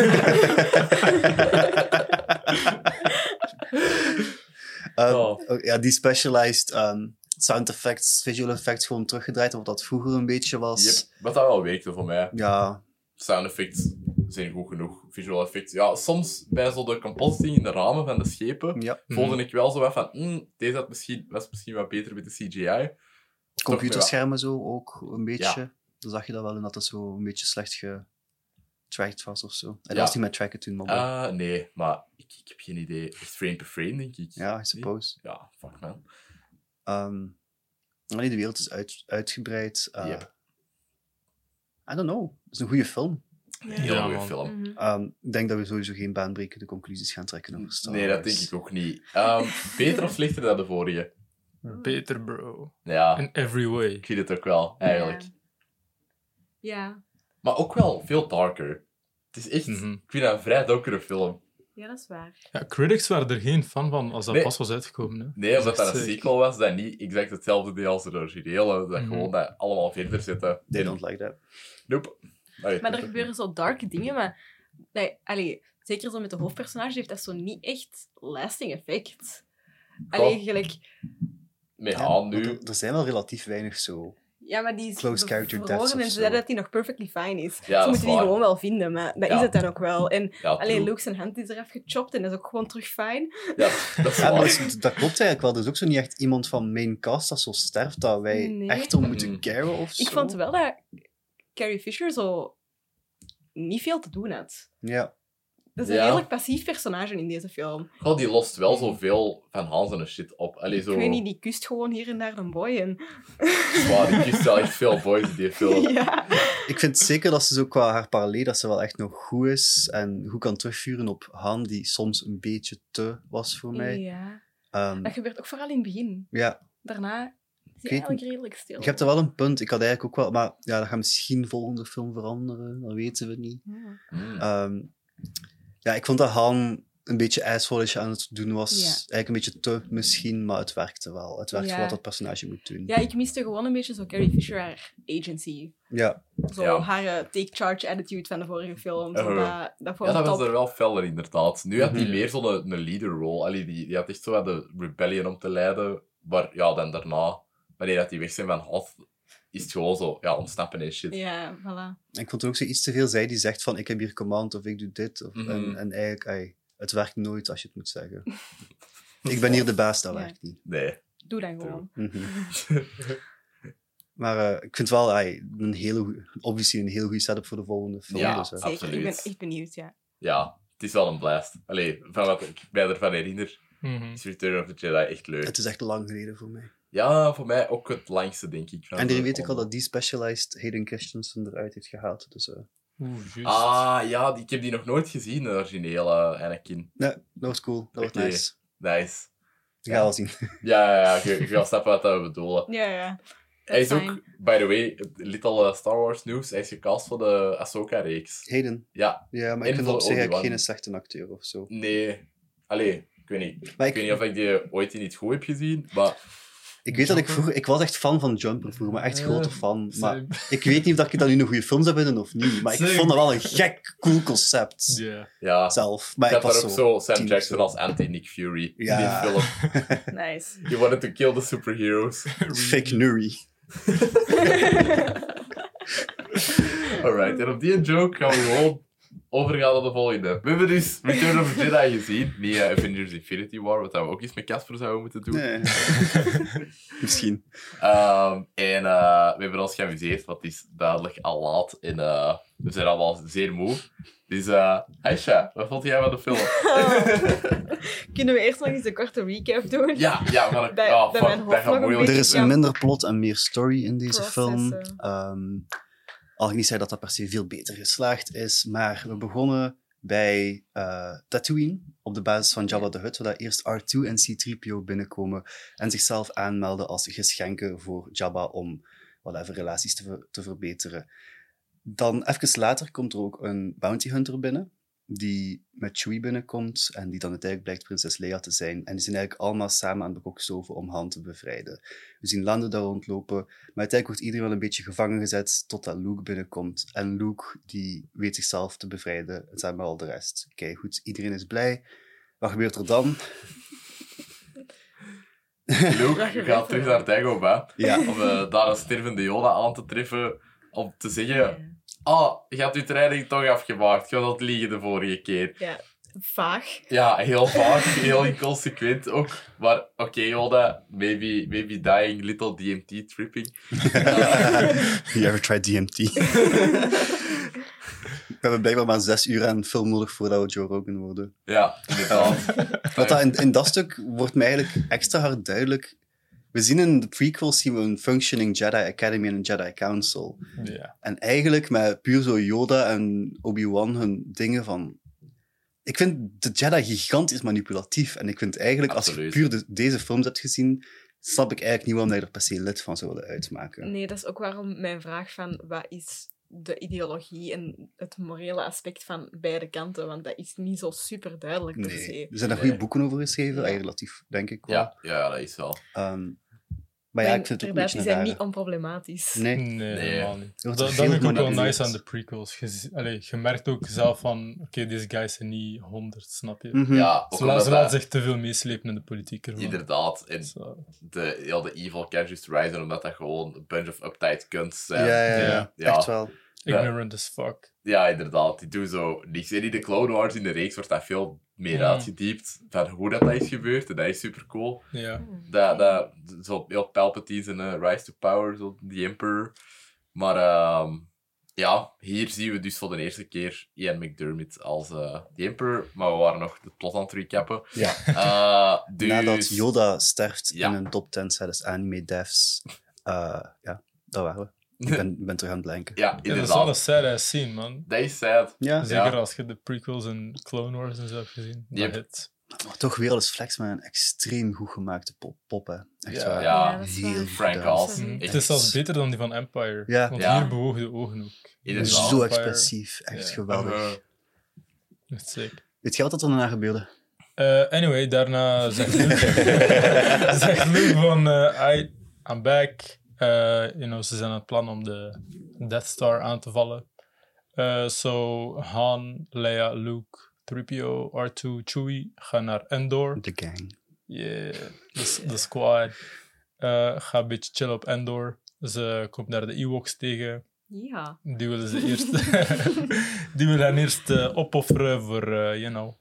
Eh,
Oh.
ook- Ja, die specialized ehm, sound effects, visual effects gewoon teruggedraaid op wat dat vroeger een beetje was.
Yep. Wat dat wel werkte voor mij.
Ja,
sound effects zijn goed genoeg. Visual effects. Ja, soms bij zo de compositing in de ramen van de schepen
ja.
voelde ik wel zo wat van, "Mm, deze had misschien, was misschien wat beter met de CGI.
computerschermen zo ook een beetje. Dan zag je dat wel en dat dat zo een beetje slecht getracked was of zo. En dat
Ja.
was niet met tracken toen, maar wel.
Ah, nee, maar ik, ik heb geen idee. Echt frame per frame, denk ik.
ja, I
Nee?
suppose.
Ja, fuck man.
Ehm, maar nee, de wereld is uit, uitgebreid. eh,
Yep.
I don't know. Het is een goede film.
Heel
Ja,
goede
man.
film.
Mhm.
Ehm, ik denk dat we sowieso geen baanbrekende conclusies gaan trekken over Star
Nee, dat denk ik ook niet. Ehm, beter of slechter dan de vorige?
Beter, bro.
Ja,
In every way.
ik vind het ook wel, eigenlijk.
Ja. Ja.
Maar ook wel veel darker. Het is echt,
Mhm.
ik vind dat een vrij donkere film.
ja, dat is waar.
Ja, critics waren er geen fan van als dat
Nee.
pas was uitgekomen. Hè.
Nee, omdat dat een
echt sick.
sequel was, dat niet exact hetzelfde deed als het originele. Dat
Mhm.
gewoon dat allemaal verder zitten.
They
En-
don't like that.
Nope. Allee,
Maar er
dat-
gebeuren zo dark dingen, maar... Nee, allee, zeker zo met de hoofdpersonage heeft dat zo niet echt lasting effect. Allee,
Goh.
gelijk...
Met
Ja,
Haan
want
ah, nu.
Er, er zijn wel relatief weinig zo.
Ja, maar die is
Close character
bevroren
deaths of
en ze
zo.
zeiden dat hij nog perfectly fine is.
Ja,
ze
dat is
moeten die
waar.
gewoon wel vinden, maar dat
Ja.
is het dan ook wel. En
Ja,
alleen
true.
Luke zijn hand is eraf gechopt en dat is ook gewoon terug fijn.
Ja, dat is
Ja, dus- maar dat,
waar.
is- dat klopt eigenlijk wel. Er is ook zo niet echt iemand van main cast dat zo sterft dat wij
Nee.
echt om
Mm.
moeten caren of zo.
Ik vond wel dat Carrie Fisher zo niet veel te doen had.
Ja,
Dat is een
Ja.
redelijk passief personage in deze film.
Goh, die lost wel zoveel van Hans en shit op. Allee, zo...
Ik weet niet, die kust gewoon hier en daar een boy. En...
Zwaar, die kiest wel echt veel boys in die film.
ja.
ik vind zeker dat ze zo qua haar parallel dat ze wel echt nog goed is en goed kan terugvuren op Han, die soms een beetje te was voor mij.
ja.
Ehm,
Dat gebeurt ook vooral in het begin.
ja,
Daarna is
weet
hij eigenlijk redelijk stil.
ik heb er wel een punt. Ik had eigenlijk ook wel, maar ja, dat gaat misschien volgende film veranderen, dat weten we niet.
Ja.
Mm.
Ehm, ja, ik vond dat Han een beetje ijsvolish aan het doen was.
Ja.
Eigenlijk een beetje te misschien, maar het werkte wel. Het werkte
Ja.
voor wat dat personage moet doen.
Ja, ik miste gewoon een beetje zo Carrie Fisher haar agency.
ja.
Zo
Ja.
haar eh, take charge attitude van de vorige film. Zo
Oh.
dat, dat vond
Ja,
ik
dat was
top.
er wel feller, inderdaad. Nu had die
Mhm.
meer zo'n een, leader role. Allee, die, die had echt zo wat de rebellion om te leiden. Maar ja, dan daarna, wanneer dat die weg zijn van Hans, is het gewoon zo, ja, ontsnappen en shit.
Ja, voilà.
Ik vond er ook zoiets te veel zij die zegt van ik heb hier command of ik doe dit. Of,
Mhm.
en, en eigenlijk, ey, het werkt nooit als je het moet zeggen. ik ben hier de baas, dat
Ja.
werkt niet.
Nee.
Doe dan gewoon.
Mhm. Maar eh, ik vind wel ey, een hele goe- obviously een heel goede setup voor de volgende film.
Ja.
dus, eh,
Absoluut.
Zeker, ik ben echt benieuwd, ja.
ja, het is wel een blast. Allee, van wat ik mij ervan herinner,
Mhm.
is Return of the Jedi echt leuk.
het is echt lang geleden voor mij.
Ja, voor mij ook het langste, denk ik. van
en die
de
weet ik al
ronde.
dat die specialized Hayden Christensen eruit heeft gehaald. Dus eh
Oeh, juist.
Ah, ja, die- ik heb die nog nooit gezien, de originele eh, Anakin.
nee, dat wordt cool. Dat wordt
Oké.
nice.
Nice.
We gaan wel zien.
Ja, ja, ja, je, je gaat snappen wat dat we bedoelen.
Ja, ja.
Hij is
fijn.
ook, by the way, little eh, Star Wars news, hij is gecast voor de Ahsoka-reeks.
Hayden.
Ja,
Ja, maar
En
ik vind dat
voor
op zich eigenlijk
Obi-Wan.
geen slechte acteur of zo.
nee. Allee, ik weet niet.
Maar
Ik weet niet of ik die ooit in iets goed heb gezien, maar
Ik weet dat ik
Jumper?
vroeger... Ik was echt fan van Jumper vroeger, maar echt
Ja.
grote fan. Maar
Same.
ik weet niet of dat ik dat nu een goede film zou vinden of niet. Maar ik
Same.
vond dat wel een gek, cool concept.
Ja.
ja.
Zelf. Maar
ik
ik
had
was
daar ook zo Sam
tien of
Jackson
zo.
als anti-Nick Fury
Ja.
in die film.
Nice.
You wanted to kill the superheroes.
Fake Nuri.
Alright, en op die joke gaan we gewoon overgaan naar de volgende. We hebben dus Return of the Jedi gezien. Niet eh, Avengers Infinity War, wat we ook eens met Casper zouden moeten doen.
Nee. Misschien.
Ehm, en eh, we hebben ons geamuseerd, want het is duidelijk al laat. En eh, we zijn allemaal zeer moe. Dus eh Aisha, wat vond jij van de film?
Kunnen we eerst nog eens een korte recap doen?
ja, ja, maar
Bij-
oh,
bij
fuck,
mijn hoofd nog
dat
een
gaat moeilijk.
Er is
Ja.
een minder plot en meer story in deze film.
Processen.
Ehm, al ik niet zei dat dat per se veel beter geslaagd is, maar we begonnen bij eh, Tatooine, op de basis van Jabba the Hutt, waar dat eerst R2 en C-3PO binnenkomen en zichzelf aanmelden als geschenken voor Jabba om whatever, relaties te, ver- te verbeteren. Dan even later komt er ook een bounty hunter binnen, die met Chewie binnenkomt en die dan uiteindelijk blijkt prinses Leia te zijn. En die zijn eigenlijk allemaal samen aan het bekokstoven om Han te bevrijden. We zien Lando daar rondlopen, maar uiteindelijk wordt iedereen wel een beetje gevangen gezet totdat Luke binnenkomt. En Luke die weet zichzelf te bevrijden en samen met al de rest. Oké, goed, iedereen is blij. Wat gebeurt er dan?
Luke gaat terug naar Dagobah.
Ja,
om eh, daar een stervende Yoda aan te treffen. Om te zeggen: Oh, je hebt je training toch afgemaakt. Je had dat liegen de vorige keer.
Vaag.
Ja, heel vaak, heel inconsequent ook. Maar oké, Yoda, maybe, maybe dying, little DMT tripping.
You ever tried DMT? we hebben blijkbaar maar zes uur aan film nodig voordat we Joe Rogan worden.
Ja, inderdaad.
Want dat, in, in dat stuk wordt mij eigenlijk extra hard duidelijk. We zien in de prequels zien we een functioning Jedi Academy en een Jedi Council.
Ja.
En eigenlijk met puur zo Yoda en Obi-Wan hun dingen van... Ik vind de Jedi gigantisch manipulatief. En ik vind eigenlijk,
Absoluut.
als je puur de- deze films hebt gezien, snap ik eigenlijk niet waarom je er per se lid van zou willen uitmaken.
Nee, dat is ook waarom mijn vraag van wat is de ideologie en het morele aspect van beide kanten, want dat is niet zo super duidelijk per
Nee.
se.
Er zijn daar goede
Nee.
boeken over geschreven,
Ja.
eigenlijk relatief, denk ik wel.
Ja, ja, dat is wel.
Ehm, maar ja, ik vind het ook een
Inderdaad,
beetje
die
een
zijn
rare-
niet onproblematisch.
Nee,
Nee, helemaal niet.
wordt
Dat, dat
veel
vind ik ook wel
gemanipuleerd.
nice aan de prequels. Je, zi- allee, je merkt ook zelf van, oké, deze guys zijn niet honderd, snap je?
Mhm.
Ja, ook
Ze, la-
omdat
ze laten
dat-
zich te veel meeslepen in de politiek ervan.
Inderdaad. En
Zo.
de, heel de evil can just rise, omdat dat gewoon een bunch of uptight kunst
Ja,
zijn.
ja, ja,
Ja.
Ja.
echt wel.
Ignorant as fuck.
Ja, inderdaad. Die doen zo niks. En in de Clone Wars in de reeks wordt dat veel meer
Mm.
uitgediept van hoe dat, dat is gebeurd. En dat is super cool.
Ja.
Oh,
Dat, dat, zo heel Palpatine zijn eh, Rise to Power, zo The Emperor. Maar ehm, ja, hier zien we dus voor de eerste keer Ian McDermott als eh The Emperor. Maar we waren nog het plot aan het recappen.
Ja.
Eh, dus...
Nadat Yoda sterft
Ja.
in een top 10 tijdens anime devs. eh, ja, dat waren we. Ik ben, ben terug aan het blanken.
Ja,
Ja, dat is wel een
inderdaad.
sad ass scene, man.
Dat is sad.
Ja,
Zeker als je de prequels en Clone Wars en zo hebt gezien. Dat
Yep.
hit.
maar toch weer als flex met een extreem goed gemaakte pop, pop hè. Echt
Ja.
waar.
Ja,
dat is
heel
waar.
goed
Frank
gedaan.
Oz.
Mhm.
Het is zelfs beter dan die van Empire.
Ja.
Want
Ja.
hier bewogen de ogen ook.
Inderdaad.
Zo
Empire.
expressief, echt
Ja.
geweldig.
Eh,
Echt sick.
Weet je wat dat er daarna gebeurde?
Eh, anyway, daarna zegt Luke, zegt Luke van... eh, I, I'm back. Eh, you know, ze zijn aan het plan om de Death Star aan te vallen. Eh, so Han, Leia, Luke, 3PO, R2, Chewie gaan naar Endor.
De gang.
Yeah, de, s- de squad. eh gaat een beetje chillen op Endor. Ze komt naar de Ewoks tegen.
Ja.
Die willen ze eerst... die willen hen eerst eh, opofferen voor, eh, you know,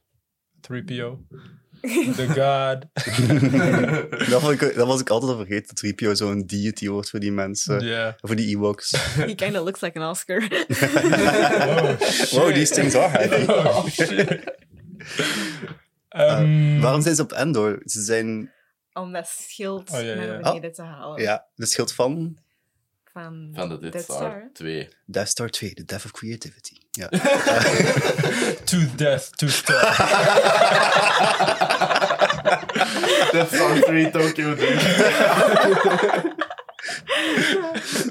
3PO. The God.
dat, vond ik, dat was ik altijd al vergeten, dat 3PO zo'n deity wordt voor die mensen.
Yeah.
Voor die
Oh,
Ewoks.
He kind of looks like an Oscar.
Wow,
Wow, these things are heavy.
Oh, shit.
Eh,
Ehm,
Waarom zijn ze op Endor? Ze zijn...
Om dat schild
Oh, ja, ja.
naar beneden te halen.
Ja, de schild van...
Van,
Van de Death
Death
Star 2.
Death Star 2, The Death of Creativity. Ja.
To death, to star.
Death Star 3 Tokyo Drift.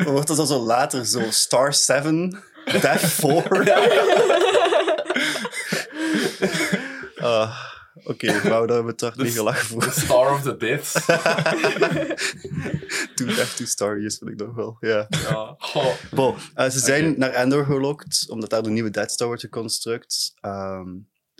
Wordt dat dan zo later zo Star 7, Death 4? Ah, Oké, wou daar hebben we toch
Dus-
niet gelachen
The
voor.
Star of the Death.
Too Death, Too Star, yes, vind ik nog wel. Ja.
Ja. Oh.
Bon, eh, ze zijn naar Endor gelokt, omdat daar de nieuwe Death Star wordt geconstruct. Ehm,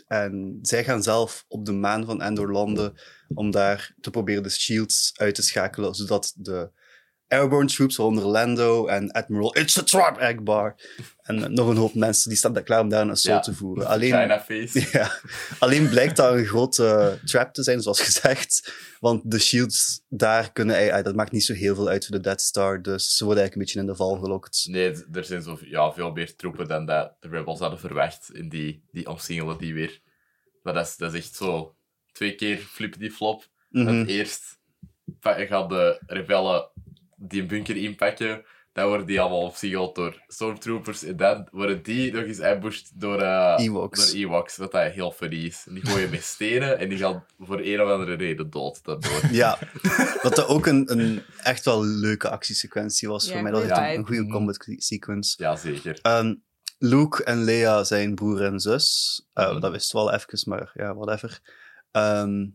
en zij gaan zelf op de maan van Endor landen om daar te proberen de shields uit te schakelen, zodat de airborne troops, waaronder Lando en Admiral It's a Trap Akbar, en nog een hoop mensen, die staan daar klaar om daar een assault
Ja.
te voeren. Alleen,
China face.
ja, alleen blijkt dat een grote eh, trap te zijn, zoals gezegd. Want de shields daar kunnen... ei- ei, Dat maakt niet zo heel veel uit voor de Death Star, dus ze worden eigenlijk een beetje in de val gelokt.
Nee, d- er zijn zo, ja, veel meer troepen dan dat de Rebels hadden verwacht. En die, die omsingelen die weer. Maar dat is, dat is echt zo. Twee keer flip die flop.
Mhm.
Het eerst pa- gaan de rebellen die bunker inpakken. Dan worden die allemaal opgesiegeld door stormtroopers. En dan worden die nog eens ambushed door, eh
Ewoks.
door Ewoks. Wat dat heel funny is. En die gooien met stenen en die gaan voor een of andere reden dood. Daardoor.
Ja, dat dat ook een, een echt wel leuke actiesequentie was
Ja,
voor mij. Dat was
goeie
echt een- een
vibe.
goede combat sequence.
Jazeker.
Ehm, Luke en Leia zijn broer en zus. Eh,
Mhm.
Dat wist wel even, maar ja, whatever. Ehm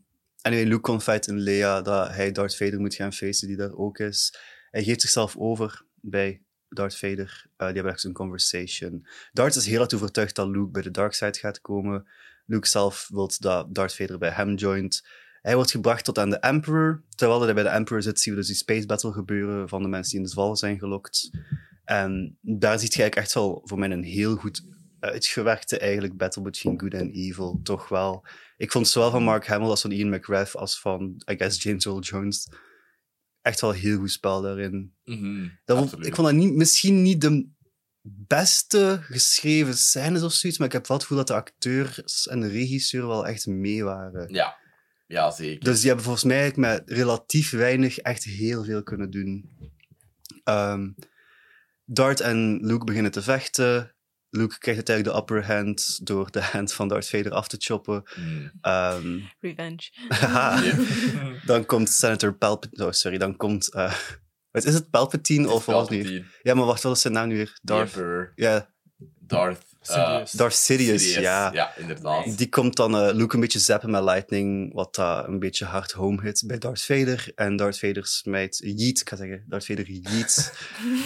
anyway, Luke confide in Leia dat hij Darth Vader moet gaan facen, die daar ook is. Hij geeft zichzelf over bij Darth Vader. Eh, die hebben echt een conversation. Darth is heel erg overtuigd dat Luke bij de dark side gaat komen. Luke zelf wil dat Darth Vader bij hem joint. Hij wordt gebracht tot aan de Emperor. Terwijl hij bij de Emperor zit, zien we dus die space battle gebeuren van de mensen die in de val zijn gelokt. En daar ziet je eigenlijk echt wel voor mij een heel goed uitgewerkte eigenlijk battle between good en evil. Toch wel. Ik vond zowel van Mark Hamill als van Ian McRath als van, I guess, James Earl Jones echt wel heel goed spel daarin.
Mhm,
Dat vond-
absoluut.
ik vond dat niet, misschien niet de beste geschreven scènes of zoiets, maar ik heb wel het gevoel dat de acteurs en de regisseur wel echt mee waren.
Ja. ja, zeker.
Dus die hebben volgens mij eigenlijk met relatief weinig echt heel veel kunnen doen. Ehm, Dart en Luke beginnen te vechten. Luke krijgt uiteindelijk de upper hand door de hand van Darth Vader af te choppen.
Mm.
Ehm,
Revenge.
haha.
Yep.
dan komt Senator Palpatine... Oh, sorry, dan komt... eh, wat is het, Palpatine of wat was het nu?
Palpatine,
Ja, maar wacht, wat is zijn naam nu weer?
the
Darth... Ja,
Emperor, Darth... eh,
Sidious.
Darth Sidious, ja.
Ja, inderdaad.
Die komt dan eh, Luke een beetje zappen met lightning, wat daar een beetje hard home hit bij Darth Vader. En Darth Vader smijt, yeet, ik ga zeggen, Darth Vader yeet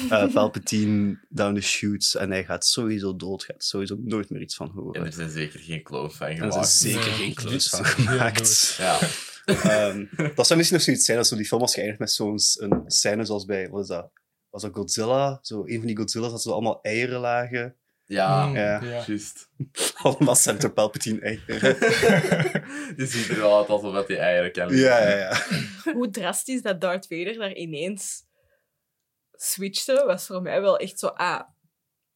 eh, Palpatine down the chutes en hij gaat sowieso dood, gaat sowieso nooit meer iets van horen.
En er zijn zeker geen clones van
En
gemaakt.
er is zeker
Ja.
geen clones van
Ja,
gemaakt.
Ja.
Ehm, dat zou misschien nog zoiets zijn als zo die film was geëindigd met zo'n s- een scène zoals bij, wat is dat? Was dat Godzilla? Zo een van die Godzilla's dat ze allemaal eieren lagen.
Ja,
Mm,
ja.
ja.
juist.
Allemaal Senator Palpatine eieren.
Je ziet er wel uit alsof dat die eieren kennen.
Ja, ja, ja.
Hoe drastisch dat Darth Vader daar ineens switchte, was voor mij wel echt zo, ah,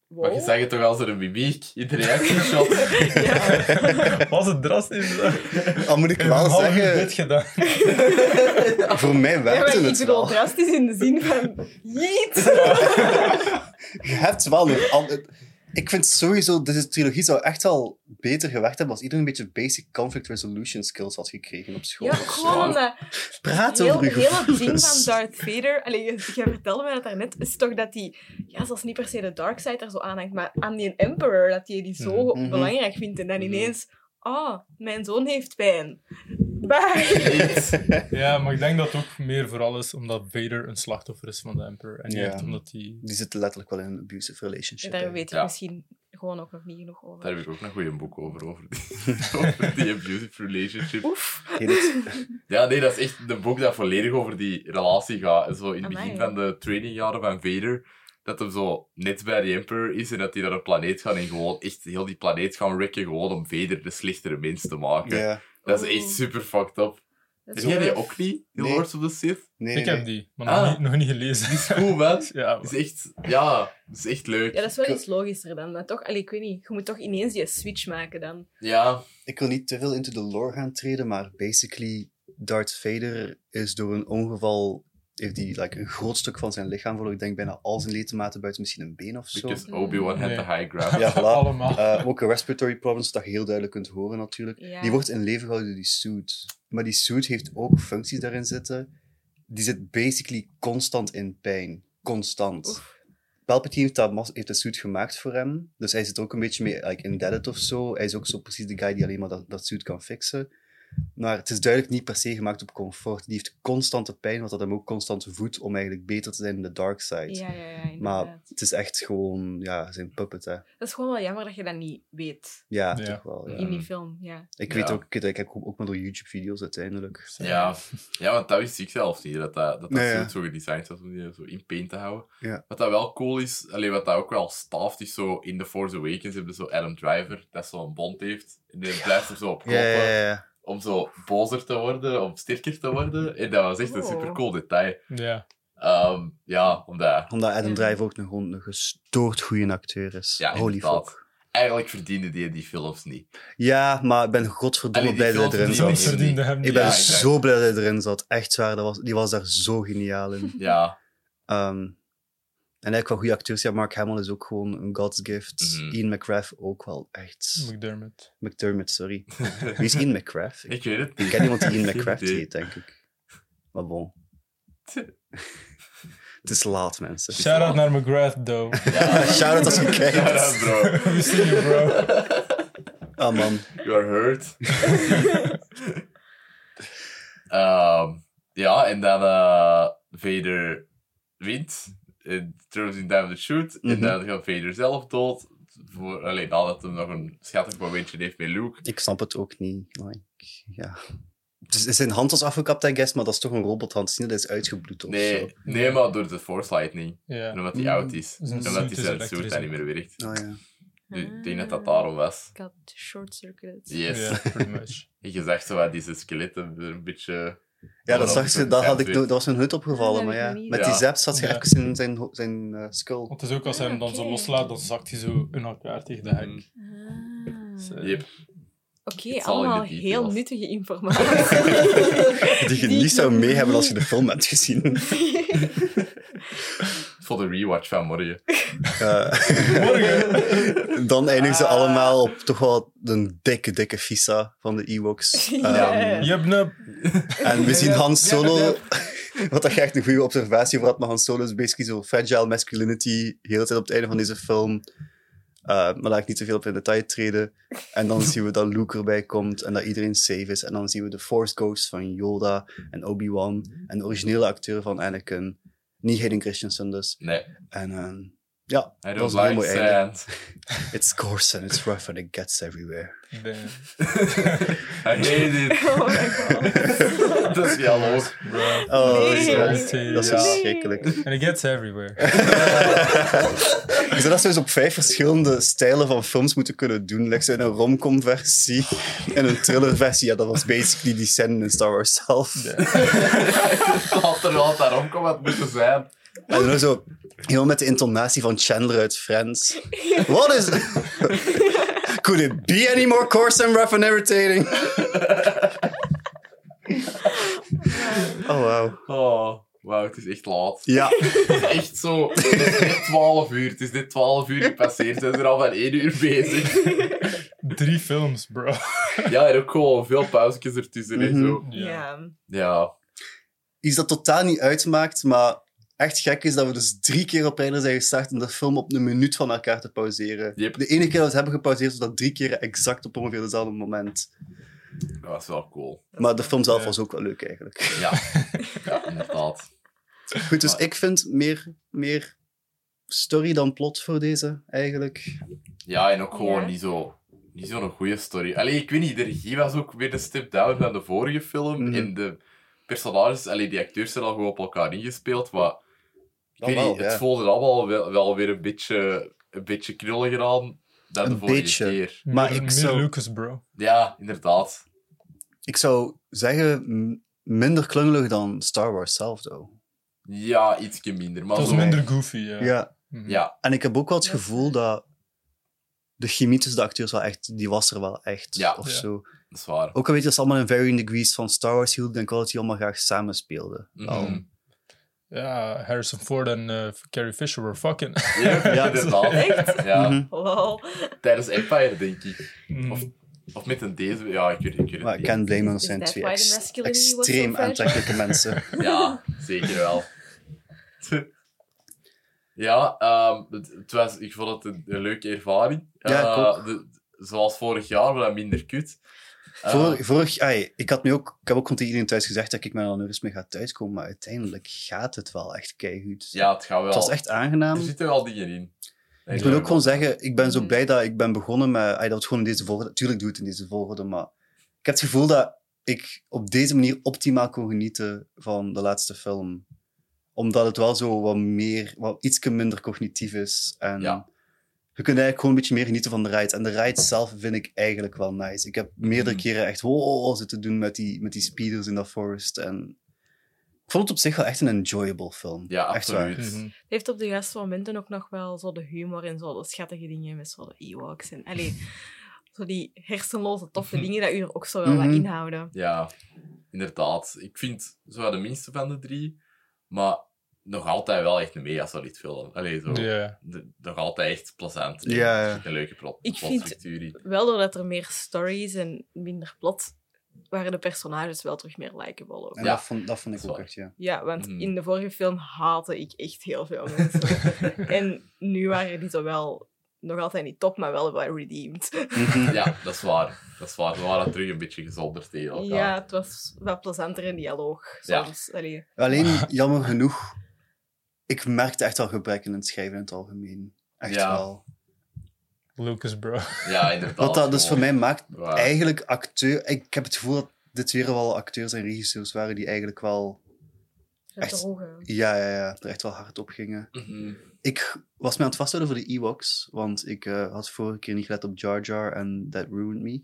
wow.
Maar je zag het toch als er een mimiek in de reactieshot.
Ja.
Was het drastisch?
Al moet ik wel zeggen,
dit gedaan.
voor mij
Ja,
werkte
maar ik
het wel.
bedoel drastisch in de zin van, jeet!
Je hebt wel nog... al- het- Ik vind sowieso, deze trilogie zou echt wel beter gewerkt hebben als iedereen een beetje basic conflict resolution skills had gekregen op school.
Ja,
of zo.
gewoon omdat
Praat
heel,
over je
heel het ding van
gevoelens.
Darth Vader, allee, je, jij vertelde mij dat daarnet, is toch dat die, ja, zelfs niet per se de dark side er zo aan hangt, maar aan die Emperor, dat hij die zo
Mhm.
belangrijk vindt en dan
Mhm.
ineens, oh, mijn zoon heeft pijn. Bye!
Ja, maar ik denk dat het ook meer vooral is omdat Vader een slachtoffer is van de Emperor. En niet
Ja.
echt omdat hij...
Die zitten letterlijk wel in een abusive
Ja,
relationship.
daar weten
eigenlijk.
we
Ja.
misschien gewoon ook nog niet genoeg over.
Daar heb ik ook nog een boek over, over die, over die abusive relationship.
Oef.
Heet het-
Ja, nee, dat is echt een boek dat volledig over die relatie gaat. En Zo in het
Amai.
begin van de trainingjaren van Vader, dat hem zo net bij de Emperor is en dat hij naar een planeet gaat en gewoon echt heel die planeet gaan wrecken, gewoon om Vader de slechtere mens te maken.
Ja.
Dat is echt
Oeh.
super fucked up.
Dat is
Ken jij
wel-
die ook niet? The
Nee.
Lords of the Sith?
Nee, nee,
ik heb
nee.
die, maar
Ah.
nog, niet, nog niet gelezen.
is goed, man.
Ja,
Is echt, ja, is echt leuk.
Ja,
Ja,
dat is wel iets logischer dan, maar toch, allee, ik weet niet, je moet toch ineens die switch maken dan.
Ik wil niet te veel into the lore gaan treden, maar basically, Darth Vader is door een ongeval... Heeft hij like, een groot stuk van zijn lichaam verloren. Ik denk bijna al zijn ledematen buiten misschien een been of zo.
because Obi-Wan had
Nee.
the high ground.
Ja, voilà.
allemaal.
Eh, ook een respiratory problems, zodat je heel duidelijk kunt horen natuurlijk.
Ja.
Die wordt in leven gehouden door die suit. Maar die suit heeft ook functies daarin zitten. Die zit basically constant in pijn. Constant. Palpatine heeft, dat, mas- heeft de suit gemaakt voor hem. Dus hij zit ook een beetje mee like, indebted of zo. Hij is ook zo precies de guy die alleen maar dat, dat suit kan fixen. Maar het is duidelijk niet per se gemaakt op comfort. Die heeft constante pijn, wat dat hem ook constant voedt om eigenlijk beter te zijn in de dark side.
Ja, ja, ja, inderdaad.
maar het is echt gewoon ja, zijn puppet, hè.
Dat is gewoon wel jammer dat je dat niet weet
Ja,
Ja.
toch wel. ja.
in die
Mm.
film, ja.
Ik
Ja.
weet ook, ik kijk ook maar door YouTube-video's uiteindelijk.
Ja. ja, want dat wist ik zelf niet, dat dat, dat, dat
Nee, ja.
suit zo gedesigned was om die zo in paint te houden.
Ja.
Wat dat wel cool is, alleen wat dat ook wel staft is, zo in The Force Awakens hebben ze zo Adam Driver, dat zo'n bond heeft, en die blijft er zo op kloppen.
Ja, ja, ja, ja.
Om zo bozer te worden, om sterker te worden. En dat was echt een
Oh.
super cool detail.
Ja.
Ehm, ja, omdat
Omdat Adam
Ja.
Driver ook nog gewoon een gestoord goede acteur is.
Ja,
Holy
inderdaad.
fuck.
eigenlijk verdiende die die films niet.
Ja, maar ik ben godverdomme
Allee, die
blij dat hij
films
erin
die
Zelfs
mensen
zat.
die-
verdiende hem
Ik
niet.
ben
Ja, exact.
zo blij dat hij erin zat. Echt waar, dat was, die was daar zo geniaal in.
Ja,
Ehm, eigenlijk wel goede acteurs. Ja, Mark Hamill is ook gewoon een God's gift.
Mhm.
Ian McRath ook wel echt.
McDermott.
McDermott, sorry. Wie is Ian McRath? Ik
Ik weet het
ken iemand die Ian
Geen
McRath
idee.
heet, denk ik. Maar bon. Het is laat, mensen.
Shout out naar McGrath, though.
Shout-out als je
Shout-out,
kijkt.
bro.
We see you, bro.
Ah, man.
You are hurt. Ehm, ja, en dan eh, Vader wint. En throws him down the chute. En
Mhm.
dan gaat Vader zelf dood. Voor, alleen nadat hij nog een schattig momentje heeft met Luke.
Ik snap het ook niet. Like, ja. Dus is zijn hand was afgekapt, I guess, maar dat is toch een robothand. Het is niet dat hij is uitgebloed of zo. Ah,
Nee, nee, maar door de Force Lightning.
Ja.
En omdat hij
Mm.
oud is.
Zijn
En omdat
suit
hij
is
zijn
elektrisch
suit daar niet
ook.
meer werkt.
Oh, ja.
Dus Ik denk dat dat daarom was.
Ik had short circuit.
Yes.
Ja, pretty much.
En je zag zo wat deze skeletten er een beetje...
ja, dat,
Allemaal
zag ze,
op-
dat, had ik,
Ja,
nooit- dat was me nooit opgevallen.
Ja,
Maar ja,
dat
met
ja.
die zaps zat je
Ja.
even in zijn, ho- zijn eh, skull.
Want het is ook als hij hem dan zo
Oké.
loslaat, dan zakt hij zo in elkaar tegen de
Mm.
hek.
Ah.
Dus, eh,
Yep.
Oké,
It's all in
allemaal
the
heel
details.
nuttige informatie.
Die je
Die
niet zou
ik nog
mee hebben als je
niet-
de film hebt gezien.
Voor de rewatch van morgen.
Eh, dan eindigen ze
Ah.
allemaal op toch wel een dikke, dikke visa van de Ewoks.
Ja.
Ehm,
Jebnub.
En we zien
Ja,
Han
ja,
Solo,
ja.
wat dat je echt een goede observatie over had, maar Han Solo is basically zo fragile masculinity, heel de tijd op het einde van deze film. Eh, maar laat ik niet te veel op in detail treden. En dan zien we dat Luke erbij komt en dat iedereen safe is. En dan zien we de Force Ghosts van Yoda en Obi-Wan en de originele acteur van Anakin, niet Hayden Christensen dus.
Nee.
En ehm, ja,
I
dat is
don't
een heel
like
mooi einde.
sand.
It's coarse and it's rough and it gets everywhere.
I
Damn.
hate it.
oh my god.
dat is wel hoog.
Bro.
Oh,
Nee.
dat is wel-
Nee.
dat is
Ja.
verschrikkelijk.
And it gets everywhere.
Ik zou dat sowieso op vijf verschillende stijlen van films moeten kunnen doen. Like zo in een romcom versie en een thriller versie. Ja, dat was basically die scène in Star Wars zelf.
Als er wel daarom komt, wat moet er zijn?
En dan zo heel met de intonatie van Chandler uit Friends. What is... Could it be any more coarse and rough and irritating? Oh, wow.
Oh, wauw, het is echt laat.
Ja,
Het is echt zo. Het is net 12 uur. Het is net 12 uur gepasseerd. We zijn er al van 1 uur bezig.
Drie films, bro.
Ja, en ook gewoon veel pauzes ertussen. hè,
Mhm.
zo.
Ja.
Ja.
iets dat totaal niet uitmaakt, maar echt gek is dat we dus drie keer op rij zijn gestart om de film op een minuut van elkaar te pauzeren.
Yep.
De ene keer dat we het hebben gepauzeerd, was dat drie keer exact op ongeveer hetzelfde moment.
Dat was wel cool.
Maar de film zelf
Ja.
was ook wel leuk eigenlijk.
Ja, ja inderdaad.
Goed, dus
Maar-
ik vind meer, meer story dan plot voor deze eigenlijk.
Ja, en ook gewoon
Ja.
niet zo. Niet zo'n goede story. Allee, ik weet niet, de regie was ook weer een step down van de vorige film.
Mhm.
En de personages, allee, die acteurs zijn al gewoon op elkaar ingespeeld. Maar ik
Dan
weet
wel,
niet, het
ja.
voelde allemaal wel, wel weer een beetje, een beetje knulliger aan dan de
Een
vorige
beetje.
keer.
Maar
Meer-
ik
meer
zou-
Lucas, bro.
Ja, inderdaad.
Ik zou zeggen, m- minder klungelig dan Star Wars zelf, though.
Ja, ietsje minder. Maar
Het was
zo,
minder goofy, ja.
Ja.
Mhm.
Ja,
En ik heb ook wel het gevoel dat de chemie tussen de acteurs wel echt, die was er wel echt,
Ja.
of
Ja.
zo.
dat is waar.
Ook al weet je dat ze allemaal in varying degrees van Star Wars hielden, denk ik wel dat die allemaal graag samen speelden. Wel.
Mhm.
Um, Ja, Harrison Ford en eh, Carrie Fisher were fucking.
Ja,
Ja.
inderdaad.
Echt?
Ja,
Mhm.
Lol.
Tijdens Empire, denk ik.
Mm.
Of- Of met een deze. Ja, ik weet, ik weet het
Maar ik
niet.
kan blamen, dat
Is
zijn
that
twee
why the
ex-
masculinity was so
extreem
fragile?
aantrekkelijke mensen.
Ja, zeker wel. Ja, ehm, het, het was, ik vond het een, een leuke ervaring.
Ja, ik ook.
Eh, de- zoals vorig jaar, maar dan minder kut. Eh,
Vorig, vorig, ai, ik, had me ook, ik heb ook tegen iedereen thuis gezegd dat ik met een aneurysme ga thuiskomen, maar uiteindelijk gaat het wel echt keihard.
ja, het gaat wel.
Het was echt
Er
aangenaam.
zitten wel dingen in.
Ik wil ook gewoon zeggen, ik ben zo
Mhm.
blij dat ik ben begonnen met... Ai, dat het gewoon in deze volgorde... Tuurlijk doe ik het in deze volgorde, maar... Ik heb het gevoel dat ik op deze manier optimaal kon genieten van de laatste film. Omdat het wel zo wat meer... Wat iets minder cognitief is. En
Ja.
je kunt eigenlijk gewoon een beetje meer genieten van de ride. En de ride zelf vind ik eigenlijk wel nice. Ik heb meerdere
Mhm.
keren echt wow zitten doen met die, met die speeders in dat forest. En ik vond het op zich wel echt een enjoyable film.
Ja,
echt waar.
absoluut.
Mhm.
Het heeft op de juiste momenten ook nog wel zo de humor en zo de schattige dingen met zo de Ewoks en allee, zo die hersenloze toffe dingen dat u er ook zo wel
Mhm.
wat inhouden.
Ja, inderdaad. Ik vind zo wel de minste van de drie. Maar nog altijd wel echt een mega solid film. Allee,
Mm-hmm.
zo.
Ja.
de- nog altijd echt plezant. en
Ja, ja.
er zit Een leuke plot,
Ik vind-
plotstructuur in.
Wel doordat er meer stories en minder plot, waren de personages wel terug meer likable. ook.
En
Ja.
dat, vond, dat vond ik
Dat is
ook
waar.
echt, ja.
Ja, want
Mhm.
in de vorige film haatte ik echt heel veel mensen. en nu waren die toch wel, nog altijd niet top, maar wel wel redeemed.
Mhm.
Ja, dat is waar. Dat is waar. We waren terug een beetje gezonderd tegen elkaar.
Ja, het was wat plezanter in dialoog
Ja.
soms. Allee,
Ah.
Alleen, jammer genoeg, ik merkte echt al gebreken in het schrijven in het algemeen. Echt
Ja.
wel.
Lucas, bro.
Ja, inderdaad.
Wat dat dus voor mij maakt,
Ja.
eigenlijk acteur... Ik heb het gevoel dat dit weer wel acteurs en regisseurs waren die eigenlijk wel...
het
Echt?
droge.
Ja, ja, ja, er echt wel hard op gingen.
Mhm.
Ik was me aan het vasthouden voor de Ewoks, want ik eh, had vorige keer niet gelet op Jar Jar en that ruined me.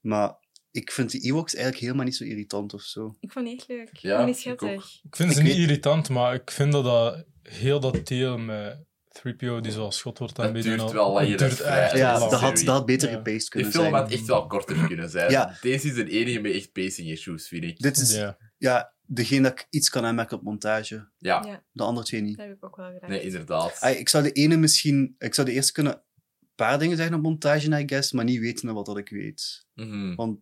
Maar ik vind de Ewoks eigenlijk helemaal niet zo irritant of zo.
Ik vond die echt leuk. Ik
Ja,
vond die
ik ook.
schattig.
Ik vind
Ik
ze niet
weet-
irritant, maar ik vind dat, dat heel dat deel met 3PO die zo schot wordt
Dat
aanbieden. en
duurt
al-
wel langer,
Het
dat
duurt
is
echt
vrij-
te
Ja,
is
lang.
dat had, dat had beter
Ja.
gepaced
Die
kunnen
film
zijn.
had echt wel korter kunnen zijn.
Ja.
Deze is de enige met echt pacing issues, vind ik.
Dit is
Ja.
ja, degene dat ik iets kan aanmerken op montage.
Ja,
Ja.
De andere twee niet.
Dat heb ik ook wel gedaan.
nee, inderdaad.
Ah, ik zou de ene misschien... Ik zou de eerste kunnen een paar dingen zeggen op montage, I guess, maar niet weten wat dat ik weet.
Mhm.
Want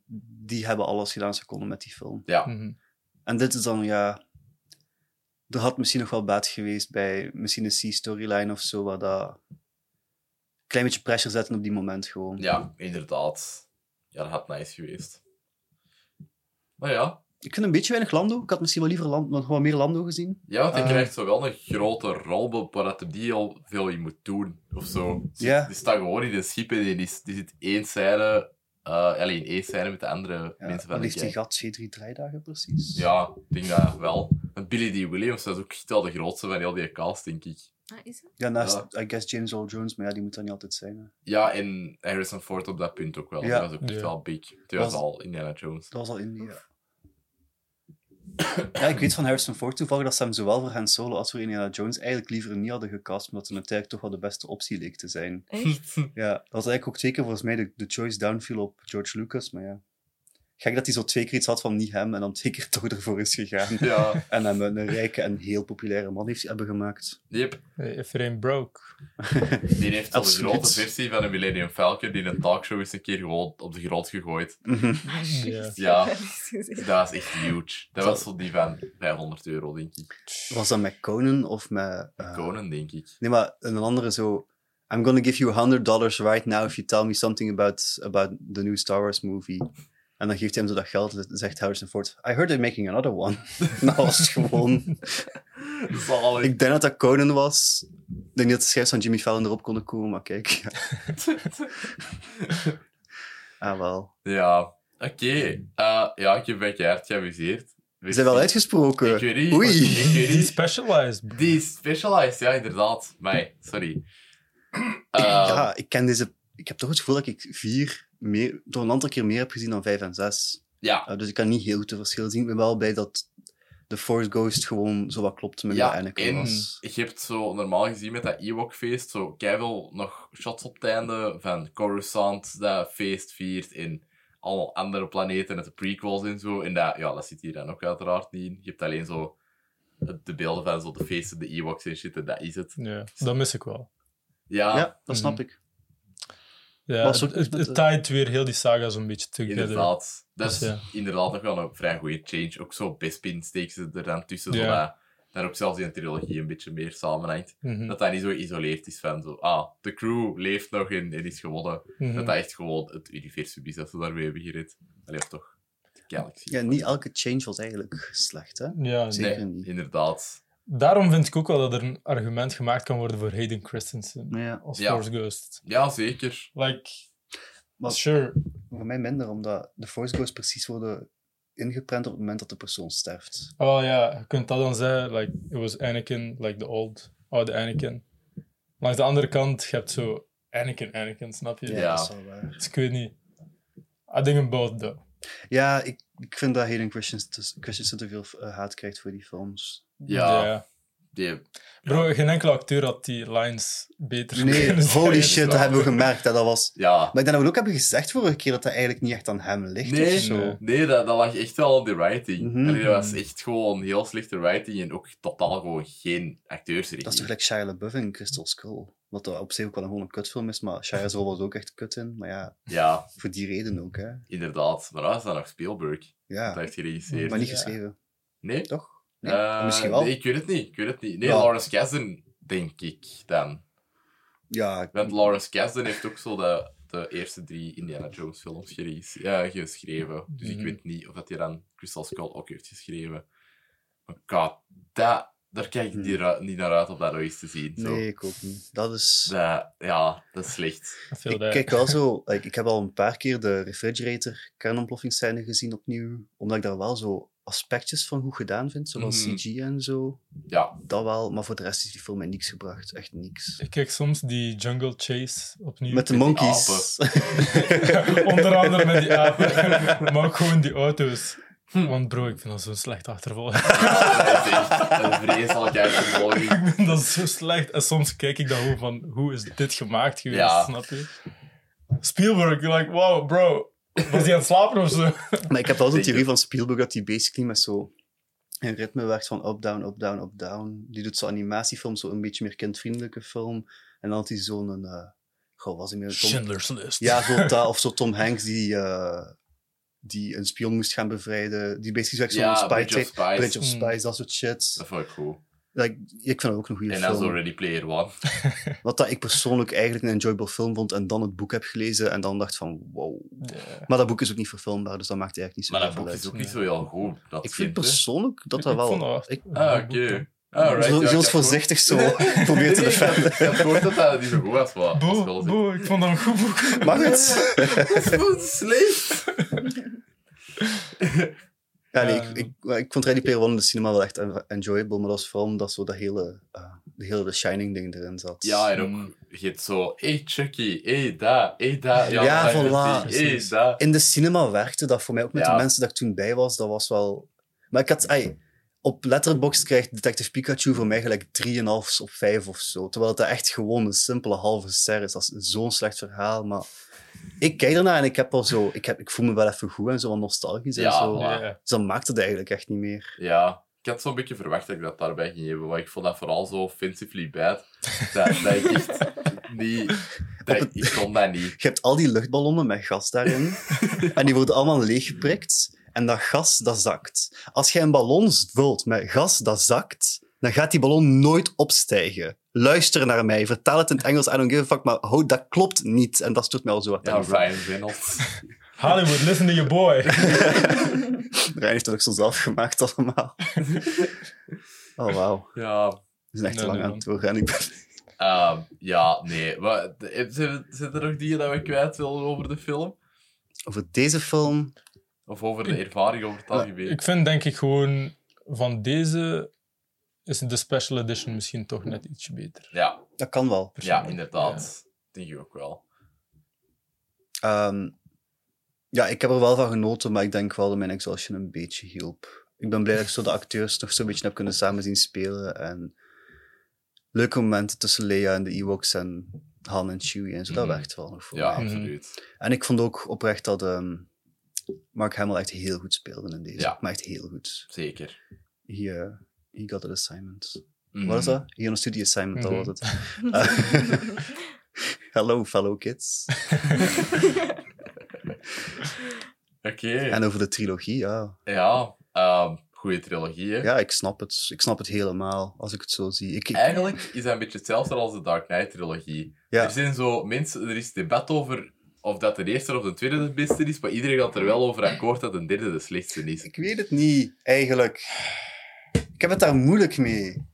die hebben alles gedaan ze konden met die film.
Ja,
Mhm.
En dit is dan, ja... Er had misschien nog wel baat geweest bij misschien een C-storyline of zo, waar dat... Een klein beetje pressure zetten op die moment gewoon.
ja, inderdaad. Ja, dat had nice geweest. Maar ja,
Ik vind een beetje weinig Lando. Ik had misschien wel liever land, nog wel meer Lando gezien.
ja want hij
Eh.
krijgt zo wel een grote rol, maar dat hem die al veel in moet doen, of zo.
Ja.
Die staat gewoon in een schip en die, is- die zit één scène, eh alleen één scène met de andere
Ja,
mensen van
dan
de
heeft die
gang.
gat twee, drie draaidagen precies.
Ja, ik denk dat wel. En Billy D. Williams dat is ook echt wel de grootste van heel die cast, denk ik.
Ah, is het?
Ja, naast, I guess, James Earl Jones, maar ja, die moet dan niet altijd zijn. hè.
Ja, en Harrison Ford op dat punt ook wel.
Ja.
Dat was ook echt
Ja.
wel big. Die was
Was-
al Indiana Jones.
Dat was al in die, ja. Ja, ik weet van Harrison Ford toevallig dat ze hem zowel voor Han Solo als voor Indiana Jones eigenlijk liever niet hadden gecast, omdat hem uiteindelijk toch wel de beste optie leek te zijn.
Echt?
Ja, dat was eigenlijk ook zeker volgens mij de, de choice downfiel op George Lucas, maar ja. Gek dat hij zo twee keer iets had van niet hem en dan twee keer toch ervoor is gegaan.
Ja,
En hem een rijke en heel populaire man heeft hebben gemaakt.
yep.
Hey, if it ain't broke.
die heeft al de
Absoluut.
grote versie van de Millennium Falcon die in een talkshow is een keer gewoon op de grond gegooid.
Mhm.
Ja.
Ja.
Dat Ah, is gezien.
Dat is echt huge. Dat was zo die van 500 euro, denk ik.
Was dat met Conan of met... eh,
Conan, denk ik.
Nee, maar een andere zo... I'm gonna give you $100 right now if you tell me something about, about the new Star Wars movie. En dan geeft hij hem zo dat geld en zegt Harrison Ford... I heard they're making another one. En dat was het gewoon...
Zalig.
Ik denk dat dat Conan was. Ik denk dat de schrijvers van Jimmy Fallon erop konden komen, maar kijk. ja. Ah, wel.
ja, oké. Eh, ja, ik heb mij keihard geamuseerd.
Ze zijn wel
Ik
uitgesproken.
weet niet.
Oei.
Ik weet
Die
niet.
specialized. bro.
Die is specialized, ja, inderdaad. Maar, sorry. Eh,
ja, ik ken deze... Ik heb toch het gevoel dat ik vier... Meer, door een aantal keer meer heb gezien dan vijf en zes.
ja,
Uh, dus ik kan niet heel goed het verschil zien. Ik ben wel bij dat de Force Ghost gewoon zo wat klopte met
Ja,
de Anakin
en-
was.
je hebt zo normaal gezien met dat Ewok-feest zo keiveel nog shots op het einde van Coruscant dat feest viert en allemaal andere planeten met de prequels en zo. En dat, ja, dat zit hier dan ook uiteraard niet in. Je hebt alleen zo het- de beelden van zo de feesten, de Ewoks en shit, en dat is het.
Ja, dat mis ik wel.
Ja,
ja, dat snap
mhm.
ik.
Ja,
Was ook
het, het,
met
het
de-
tied weer heel die saga zo'n beetje together.
inderdaad. Dat is
Dus ja.
inderdaad nog wel een vrij goede change. Ook zo Bespin steekt ze er dan tussen,
Ja.
zodat daar ook zelfs in de trilogie een beetje meer samenhangt.
Mhm,
Dat dat niet zo geïsoleerd is van zo, ah, de crew leeft nog en, en is gewonnen.
mhm.
Dat dat echt gewoon het universum is dat ze daarmee hebben gered. Allee, of toch? De galaxy.
Ja, niet elke change was eigenlijk slecht, hè?
Ja,
Zeker.
Nee,
niet.
inderdaad.
daarom vind ik ook wel dat er een argument gemaakt kan worden voor Hayden Christensen
Maar ja,
als
Ja.
Force Ghost.
Ja, zeker.
Like,
Maar-
sure.
voor mij minder, omdat de Force Ghosts precies worden ingeprent op het moment dat de persoon sterft.
Oh ja, je kunt dat dan zeggen. Like, it was Anakin, like the old, oude Anakin. Maar aan de andere kant, je hebt zo Anakin, Anakin, snap je?
Ja,
Ja.
dat is wel waar.
Dus ik weet niet. I think in both, though.
Ja, ik, ik vind dat Hayden Christensen te, Christensen te veel eh, haat krijgt voor die films.
Ja,
Ja.
Die,
Bro, geen enkele acteur had die lines beter
Nee,
kunnen zeggen.
holy shit, dat hebben we gemerkt dat dat was.
ja.
Maar ik denk dat we ook hebben gezegd vorige keer dat dat eigenlijk niet echt aan hem ligt
Nee.
of zo.
Nee.
Nee, dat, dat lag echt wel aan de writing.
Mhm.
Allee, dat was echt gewoon heel slechte writing en ook totaal gewoon geen acteursrichting.
Dat is toch gelijk Shia LaBeouf in Crystal Skull? Wat dat op zich ook wel gewoon een kutfilm is, maar Shia Zol was ook echt kut in. Maar ja,
Ja,
voor die reden ook, hè.
inderdaad. Maar dat is dan nog Spielberg. Dat
Ja,
heeft geregisseerd.
maar niet
Ja.
geschreven,
Nee?
toch? Nee?
Eh,
Misschien wel.
Nee, ik weet het niet. Ik weet het niet. Nee,
Ja.
Lawrence Kasdan, denk ik dan.
Ja,
Want Lawrence Kasdan heeft ook zo de, de eerste drie Indiana Jones films geregisseerd- ja, geschreven. Dus
Mhm.
ik weet niet of dat hij dan Crystal Skull ook heeft geschreven. Maar god, dat, daar kijk ik niet, ra- niet naar uit om dat nog eens te zien. Zo.
Hmm. nee, ik ook niet. Dat is...
Dat- ja, dat is slecht.
Veel
Ik
daar.
kijk wel zo... like, ik heb al een paar keer de refrigerator kernontploffingsscène gezien opnieuw, omdat ik daar wel zo aspectjes van goed gedaan vind, zoals
Mhm.
CG en zo.
Ja,
Dat wel, maar voor de rest is die film mij niks gebracht. Echt niks.
Ik kijk soms die Jungle Chase opnieuw.
Met de
die
monkeys.
Onder andere met die apen. maar ook gewoon die auto's. Want bro, ik vind dat zo'n slecht achtervolging.
dat is echt een vreselijke achtervolging.
ik vind dat zo slecht. En soms kijk ik dan gewoon van, hoe is dit gemaakt geweest,
Ja.
snap je? Spielberg, like, wow, bro. Was die aan het slapen of zo?
Maar ik heb wel zo'n
Zeker.
theorie van Spielberg dat hij basically met zo een ritme werkt van up, down, up, down, up, down. Die doet zo'n animatiefilm, zo'n beetje meer kindvriendelijke film. En dan had hij zo'n... eh goh, was hij meer Tom...
Schindler's List.
Ja, zo ta- of zo Tom Hanks die, eh, die een spion moest gaan bevrijden. Die basically zegt zo'n
Ja,
spy
Bridge of
take- Bridge
Spies.
of
Mm.
Spies, dat soort shit.
Dat vond ik goed.
Like, ik vind dat ook een goede
En dat is
film.
already player one.
Wat dat ik persoonlijk eigenlijk een enjoyable film vond en dan het boek heb gelezen en dan dacht van wow.
Ja.
Maar dat boek is ook niet verfilmbaar, dus dat maakt eigenlijk niet zo
Maar dat
heel
boek
veel
is
uit.
ook niet zo heel goed. Dat
Ik vind
kind, hè.
persoonlijk dat
Ik-
dat
ik
wel...
vond dat echt
ik-
een
Ah,
goed
oké.
boek, hè.
Alright,
Zo-
ja, ik had
zoals voorzichtig zo
gehoord-
probeer
Nee,
te
nee,
defenden.
Ik had gehoord dat dat niet zo goed was. Maar dat is wel
Bo,
zo-
bo, ik vond dat een goed boek.
Mag het?
Dat is gewoon slecht.
Ja, nee,
Ja.
ik, ik, maar ik vond Ready Player One in de cinema wel echt en- enjoyable, maar dat was vooral omdat zo dat hele, eh, de hele The Shining ding erin zat.
Ja, en ook, je hebt zo, hey Chucky, hey daar, hey daar. dat
Ja, voilà.
is die, hey
Precies.
daar.
In de cinema werkte dat voor mij, ook met
Ja.
de mensen dat ik toen bij was, dat was wel... Maar ik had... ai, op Letterboxd krijgt Detective Pikachu voor mij gelijk 3,5 op 5 of zo. Terwijl het echt gewoon een simpele halve ster is. Dat is zo'n slecht verhaal, maar... Ik kijk ernaar en ik heb al zo... Ik, heb, ik voel me wel even goed en zo, wat nostalgisch en
Ja,
zo.
voilà.
Ja.
Dus dan maakt het eigenlijk echt niet meer.
Ja, ik had zo'n beetje verwacht dat ik dat daarbij ging hebben, maar ik vond dat vooral zo offensively bad. Dat, dat ik echt niet... dat
Op
ik kon dat niet.
Je hebt al die luchtballonnen met gas daarin. en die worden allemaal leeggeprikt. En dat gas, dat zakt. Als je een ballon vult met gas dat zakt, dan gaat die ballon nooit opstijgen. Luister naar mij, vertaal het in het Engels, I don't give a fuck, maar hou, dat klopt niet. En dat stoort mij al zo hard
Ja,
aan.
Ryan Reynolds.
Hollywood, listen to your boy.
Rijn heeft dat ook zo zelf gemaakt allemaal. Oh, wauw.
Ja,
We zijn echt te
Nee,
lang
nee,
aan het worden. En ik ben...
ehm, ja nee. Maar, de- zijn, zijn er nog dingen dat we kwijt willen over de film?
Over deze film...
Of over de ervaring over het algemeen?
Ik vind denk ik gewoon van deze is de special edition misschien toch net ietsje beter.
Ja,
Dat kan wel.
ja inderdaad. Denk ik ook wel.
Ehm, ja, ik heb er wel van genoten, maar ik denk wel dat mijn exhaustion een beetje hielp. Ik ben blij dat ik zo de acteurs nog zo'n beetje heb kunnen samen zien spelen. En leuke momenten tussen Leia en de Ewoks en Han en Chewie en zo, dat
Mhm.
werkt wel nog voor
Ja,
mij.
absoluut.
En ik vond ook oprecht dat ehm, Mark Hamill echt heel goed speelde in deze.
Ja.
Maar echt heel goed.
Zeker.
He, eh, he got an assignment.
Mhm.
Wat is dat? He on a study assignment,
Mhm.
dat was het. Eh, Hello, fellow kids.
Oké.
En over de trilogie, ja.
Ja, ehm goede trilogie. hè.
Ja, ik snap het. Ik snap het helemaal, als ik het zo zie. Ik, ik-
Eigenlijk is dat een beetje hetzelfde als de Dark Knight trilogie.
Ja.
Er zijn zo mensen, er is debat over of dat de eerste of de tweede de beste is, maar iedereen gaat er wel over akkoord dat de derde de slechtste is.
ik weet het niet, eigenlijk. Ik heb het daar moeilijk mee.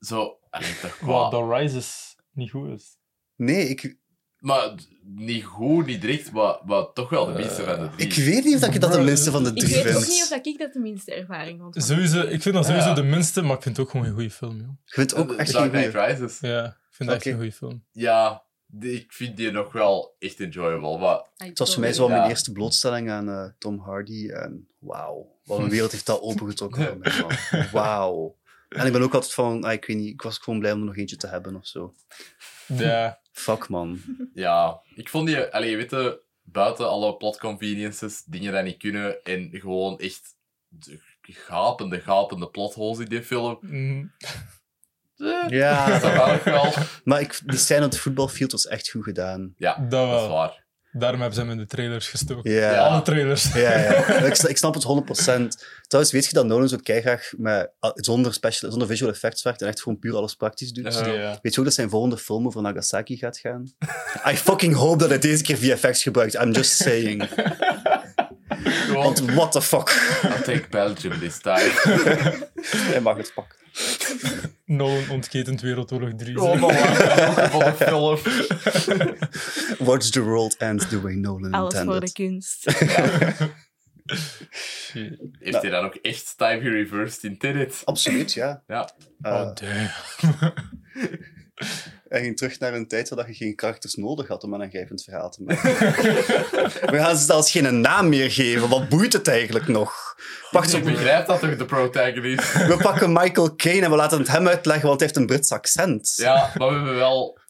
Zo, allee, toch
Wow,
qua...
dat Rise is niet goed dus- is.
Nee, ik,
Maar d- niet goed, niet direct, maar, maar toch wel de minste van de drie.
Eh, ik weet niet of ik dat de
Bro,
minste van de
ik
Ik
drie
weet
vind.
ook niet of
Ik
dat ik dat de minste ervaring vond. van-
Sowieso, ik vind dat
Ja.
sowieso de minste, maar ik vind het ook gewoon een goede film, joh.
vind het ook
De- de
echt
Dark
geen
Knight
goeie.
Rises.
Ja, ik vind dat echt
Oké.
een goede film.
Ja, die- ik vind die nog wel echt enjoyable, maar
Ah, ik
Het was voor mij
bedoel-
zo
Ja.
mijn eerste blootstelling aan eh, Tom Hardy. En wauw, wat een wereld heeft dat opengetrokken voor mij. man. Wauw. En ik ben ook altijd van, ah, ik weet niet, ik was gewoon blij om er nog eentje te hebben of zo.
Ja,
Fuck man.
Ja, ik vond die, allee, je weet, je, buiten alle plot conveniences, dingen die niet kunnen en gewoon echt de gapende, gapende plotholes in die film.
Mhm.
Eh,
Ja.
Dat wou ik wel.
Maar ik, die scène op het voetbalfield was echt goed gedaan.
Ja,
dat
dat is
wel.
waar.
Daarom hebben ze hem in de trailers gestoken.
Ja.
Alle trailers.
Ja, ja. Ik, sna- ik snap het 100%. Trouwens, weet je dat Nolan zo keihard met, ah, zonder, special, zonder visual effects werkt en echt gewoon puur alles praktisch doet?
Ja.
Ja.
Weet je ook dat zijn volgende film over Nagasaki gaat gaan? I fucking hope dat hij deze keer VFX gebruikt. I'm just saying.
Gewoon,
Want what the fuck?
I'll take Belgium this time.
Hij mag het pakken.
Nolan ontketent Wereldoorlog 3.
Oh,
Gewoon nog lang van de film.
Watch the world end the way Nolan
Alles voor de
intended.
kunst.
Shit.
Heeft
Nou.
hij dan ook echt time reversed in Tenet?
Absoluut, ja.
Ja.
Eh,
Oh, damn.
Hij ging terug naar een tijd waar je geen karakters nodig had om een aangrijpend verhaal te maken. We gaan ze zelfs geen naam meer geven. Wat boeit het eigenlijk nog? Wacht
Ik
op,
begrijp dat toch, de protagonist?
we pakken Michael Caine en we laten het hem uitleggen, want hij heeft een Brits accent.
Ja, maar we hebben wel...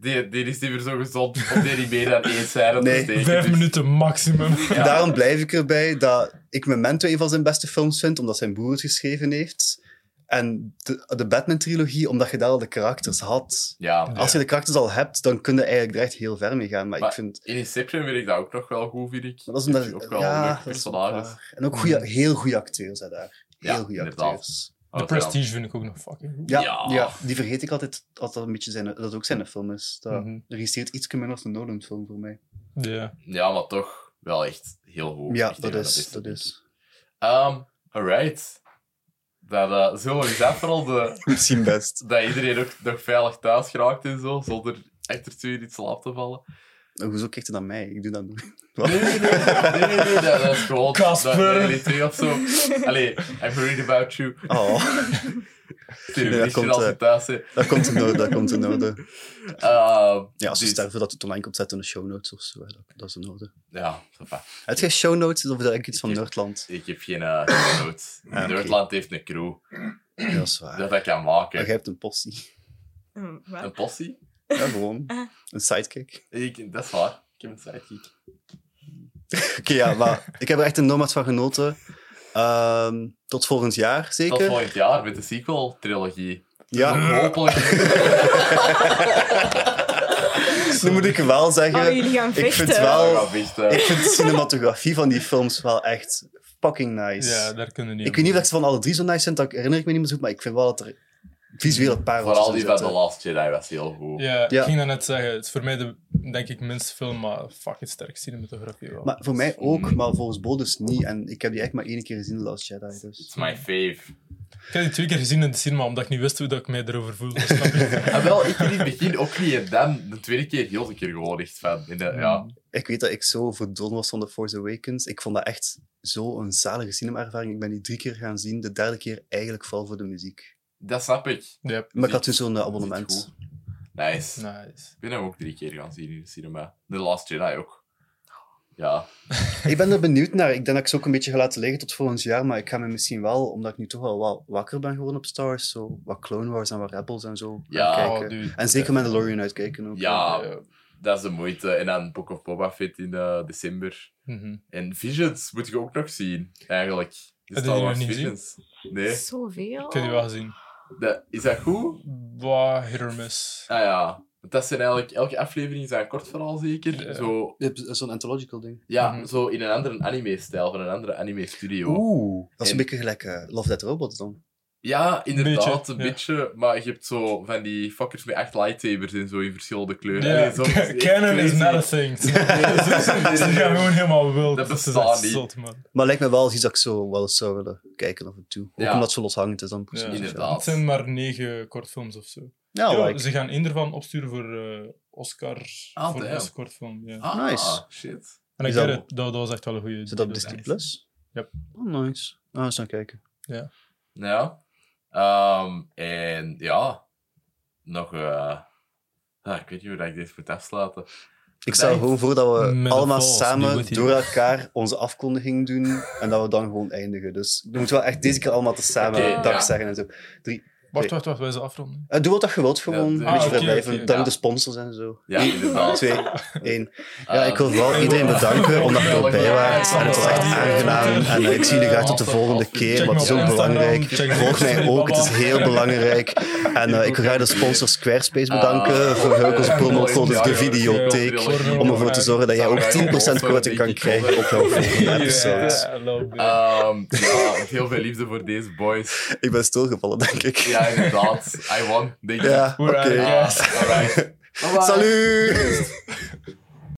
Die, die is niet meer zo gezond om die niet meer dan één scène
Nee.
te steken.
Vijf
dus-
minuten maximum.
Ja.
Daarom blijf ik erbij dat ik Memento een van zijn beste films vind, omdat zijn broer het geschreven heeft. En de, de Batman-trilogie, omdat je daar al de karakters had.
Ja,
Als je de karakters al hebt, dan kun je eigenlijk er echt heel ver mee gaan. Maar,
Maar-
ik vind...
in Inception vind ik dat ook nog wel goed, vind ik.
Maar dat is omdat...
Heb je ook wel
ja,
een
dat
leuk
is
personages.
waar. En ook goeie, heel goede acteurs hè, daar. Heel
Ja,
goede
inderdaad.
acteurs.
De
Oh, wel.
Prestige vind ik ook nog fucking goed.
Ja,
Ja.
ja. die vergeet ik altijd, dat dat een beetje zijn, dat het ook zijn film is. Dat
Mhm.
registreert iets minder als een Nolan-film voor mij.
Ja.
Ja, maar toch wel echt heel goed.
Ja,
Echt
dat
een van de
is,
beste.
dat is.
Ehm, alright. Dat eh, zullen we eens afronden.
Goed zien best.
Dat iedereen ook nog veilig thuis geraakt en zo, zonder echt er in iets slaap te vallen.
Hoezo kijkt hij naar mij? Ik doe dat nooit.
Nee, nee, nee, nee, nee, nee, dat is gewoon...
Casper.
dat- nee, nee, twee of zo. Allee, I'm worried about you.
Oh,
Stuur
Nee, dat
een lichtje
komt,
als
eh,
je thuis bent.
dat komt in orde, dat komt in orde.
Ehm,
Ja, als je
dus-
sterven dat het online komt zetten in de show notes of zo, hè, dat, dat is in orde.
Ja, enfin,
Heb jij show notes of heb ik iets van
Ik-
Nerdland?
ik heb geen eh, geen nood.
Ah, oké.
Noordland heeft een crew
Ja, dat is waar.
dat dat kan
Maar
maken.
jij hebt een postie.
Hm, wat?
Een possie?
Ja, gewoon. Een sidekick.
Ik, dat is waar. Ik heb een sidekick.
Oké, ja, maar ik heb er echt een nomad van genoten. Ehm, tot volgend jaar, zeker?
Tot volgend jaar met de sequel-trilogie.
eh, Ja,
Hopelijk.
nu moet ik wel zeggen...
Oh, jullie gaan
ik vind
vechten.
Ja,
wel...
we gaan vechten.
Ik vind de cinematografie van die films wel echt fucking nice.
ja, daar kunnen die
ik weet niet of ik ze van alle drie zo nice vind, dat herinner ik me niet meer zo goed, maar ik vind wel dat er visuele parels
Vooral
in
die van The
zitten.
Last Jedi was heel goed.
Ja, ik
Ja.
ging dat net zeggen. Het is voor mij de, denk ik, minste film, maar fucking sterk cinematografie wel.
Maar voor mij ook, maar volgens Bo dus niet. En ik heb die echt maar één keer gezien, The Last Jedi. Dus.
It's my fave.
Ik heb die twee keer gezien in de cinema, omdat ik niet wist hoe dat ik mij erover voelde. snap je?
Ah, wel, ik in het begin ook niet en dan de tweede keer heel de keer gewoon echt fan. In de, ja.
Ik weet dat ik zo verdon was van The Force Awakens. Ik vond dat echt zo'n zalige cinema-ervaring. Ik ben die drie keer gaan zien, de derde keer eigenlijk vooral voor de muziek.
Dat snap ik.
Yep.
Maar ik had toen zo'n eh,
Dat is niet
abonnement.
goed. Nice.
Nice.
Ik ben hem ook drie keer gaan zien in de cinema. The Last Jedi ook. Ja.
Ik ben er benieuwd naar. Ik denk dat ik ze ook een beetje ga laten liggen tot volgend jaar. Maar ik ga me misschien wel, omdat ik nu toch wel wat wakker ben geworden op Star Wars, zo wat Clone Wars en wat Rebels en zo gaan
Ja,
kijken.
Oh, dude.
eh, En zeker Mandalorian uitkijken ook.
Ah, Ja,
Ja.
dat is de moeite. En dan Book of Boba Fett in eh, december.
Mhm.
En Visions moet ik ook nog zien, eigenlijk. De
Heb je
Star
die
Wars
nog niet
Visions. Nee.
Zoveel.
Ik heb die wel gezien.
Dat, is dat goed?
Bah, hit or miss.
Ah ja, want dat zijn eigenlijk, elke aflevering is dat een kort verhaal zeker.
Ja.
Zo,
Je hebt Zo'n anthological ding.
ja,
Mhm.
zo in een andere anime-stijl, van een andere anime-studio.
Oeh. Dat is
En-
een beetje gelijk eh, Love That Robot dan.
Ja, inderdaad,
Beetje,
een
ja.
beetje. Maar je hebt zo van die fuckers met echt lightsabers en zo in verschillende kleuren.
Ja,
Allee, soms is het echt
canon is
crazy.
not a thing. Ze ze gaan gewoon helemaal wild.
Dat
is
bestaat
echt
niet.
zot, man.
Maar lijkt me wel iets dat ik zo wel eens zou willen kijken af en toe. Ook
Ja.
omdat ze loshangend is dan
Ja,
precies.
inderdaad.
Het zijn maar negen kortfilms of zo.
Ja,
Yo,
like.
Ze gaan één ervan opsturen voor eh, Oscar.
Ah,
voor de
damn.
beste kortfilm. Ja.
Ah,
Nice.
shit.
En ik
Is dat-
weet het, dat, dat was echt wel een goede.
Is dat op Disney Plus?
Yep.
Oh, nice. Ah, eens gaan kijken.
Ja. Ehm, en ja, nog... eh, ah, ik weet niet hoe dat ik deze moet afsluiten.
Ik stel gewoon voor dat we
Met
allemaal
een vals, nu
samen
moet hij-
door elkaar onze afkondiging doen en dat we dan gewoon eindigen. Dus we moeten wel echt deze keer allemaal tezamen
Oké,
dag
ja.
zeggen en zo.
Wacht, wacht, wacht, wij zijn afronden.
Eh, doe wat dat je wilt, gewoon.
Ja,
een beetje
ah, oké,
vrijblijven.
oké,
Dan
ja.
de sponsors en zo.
Ja, inderdaad.
Twee, één. Ja,
Eh,
ik wil vooral iedereen bedanken omdat je erbij was. En het was echt aangenaam. En eh, ik zie jullie graag tot de volgende keer, want het is ook belangrijk. Volg mij ook, het is heel belangrijk. En eh, ik wil graag de sponsor Squarespace
Ah.
bedanken voor hun onze promocode De Videotheek. Om ervoor te zorgen dat jij ook 10% korting kan krijgen op jouw volgende episodes.
Ehm, ja, heel veel liefde voor deze boys.
Ik ben stilgevallen, denk ik.
Ja, inderdaad. I won, denk ik.
Ja, oké.
Ah, alright. Bye-bye.
Salut!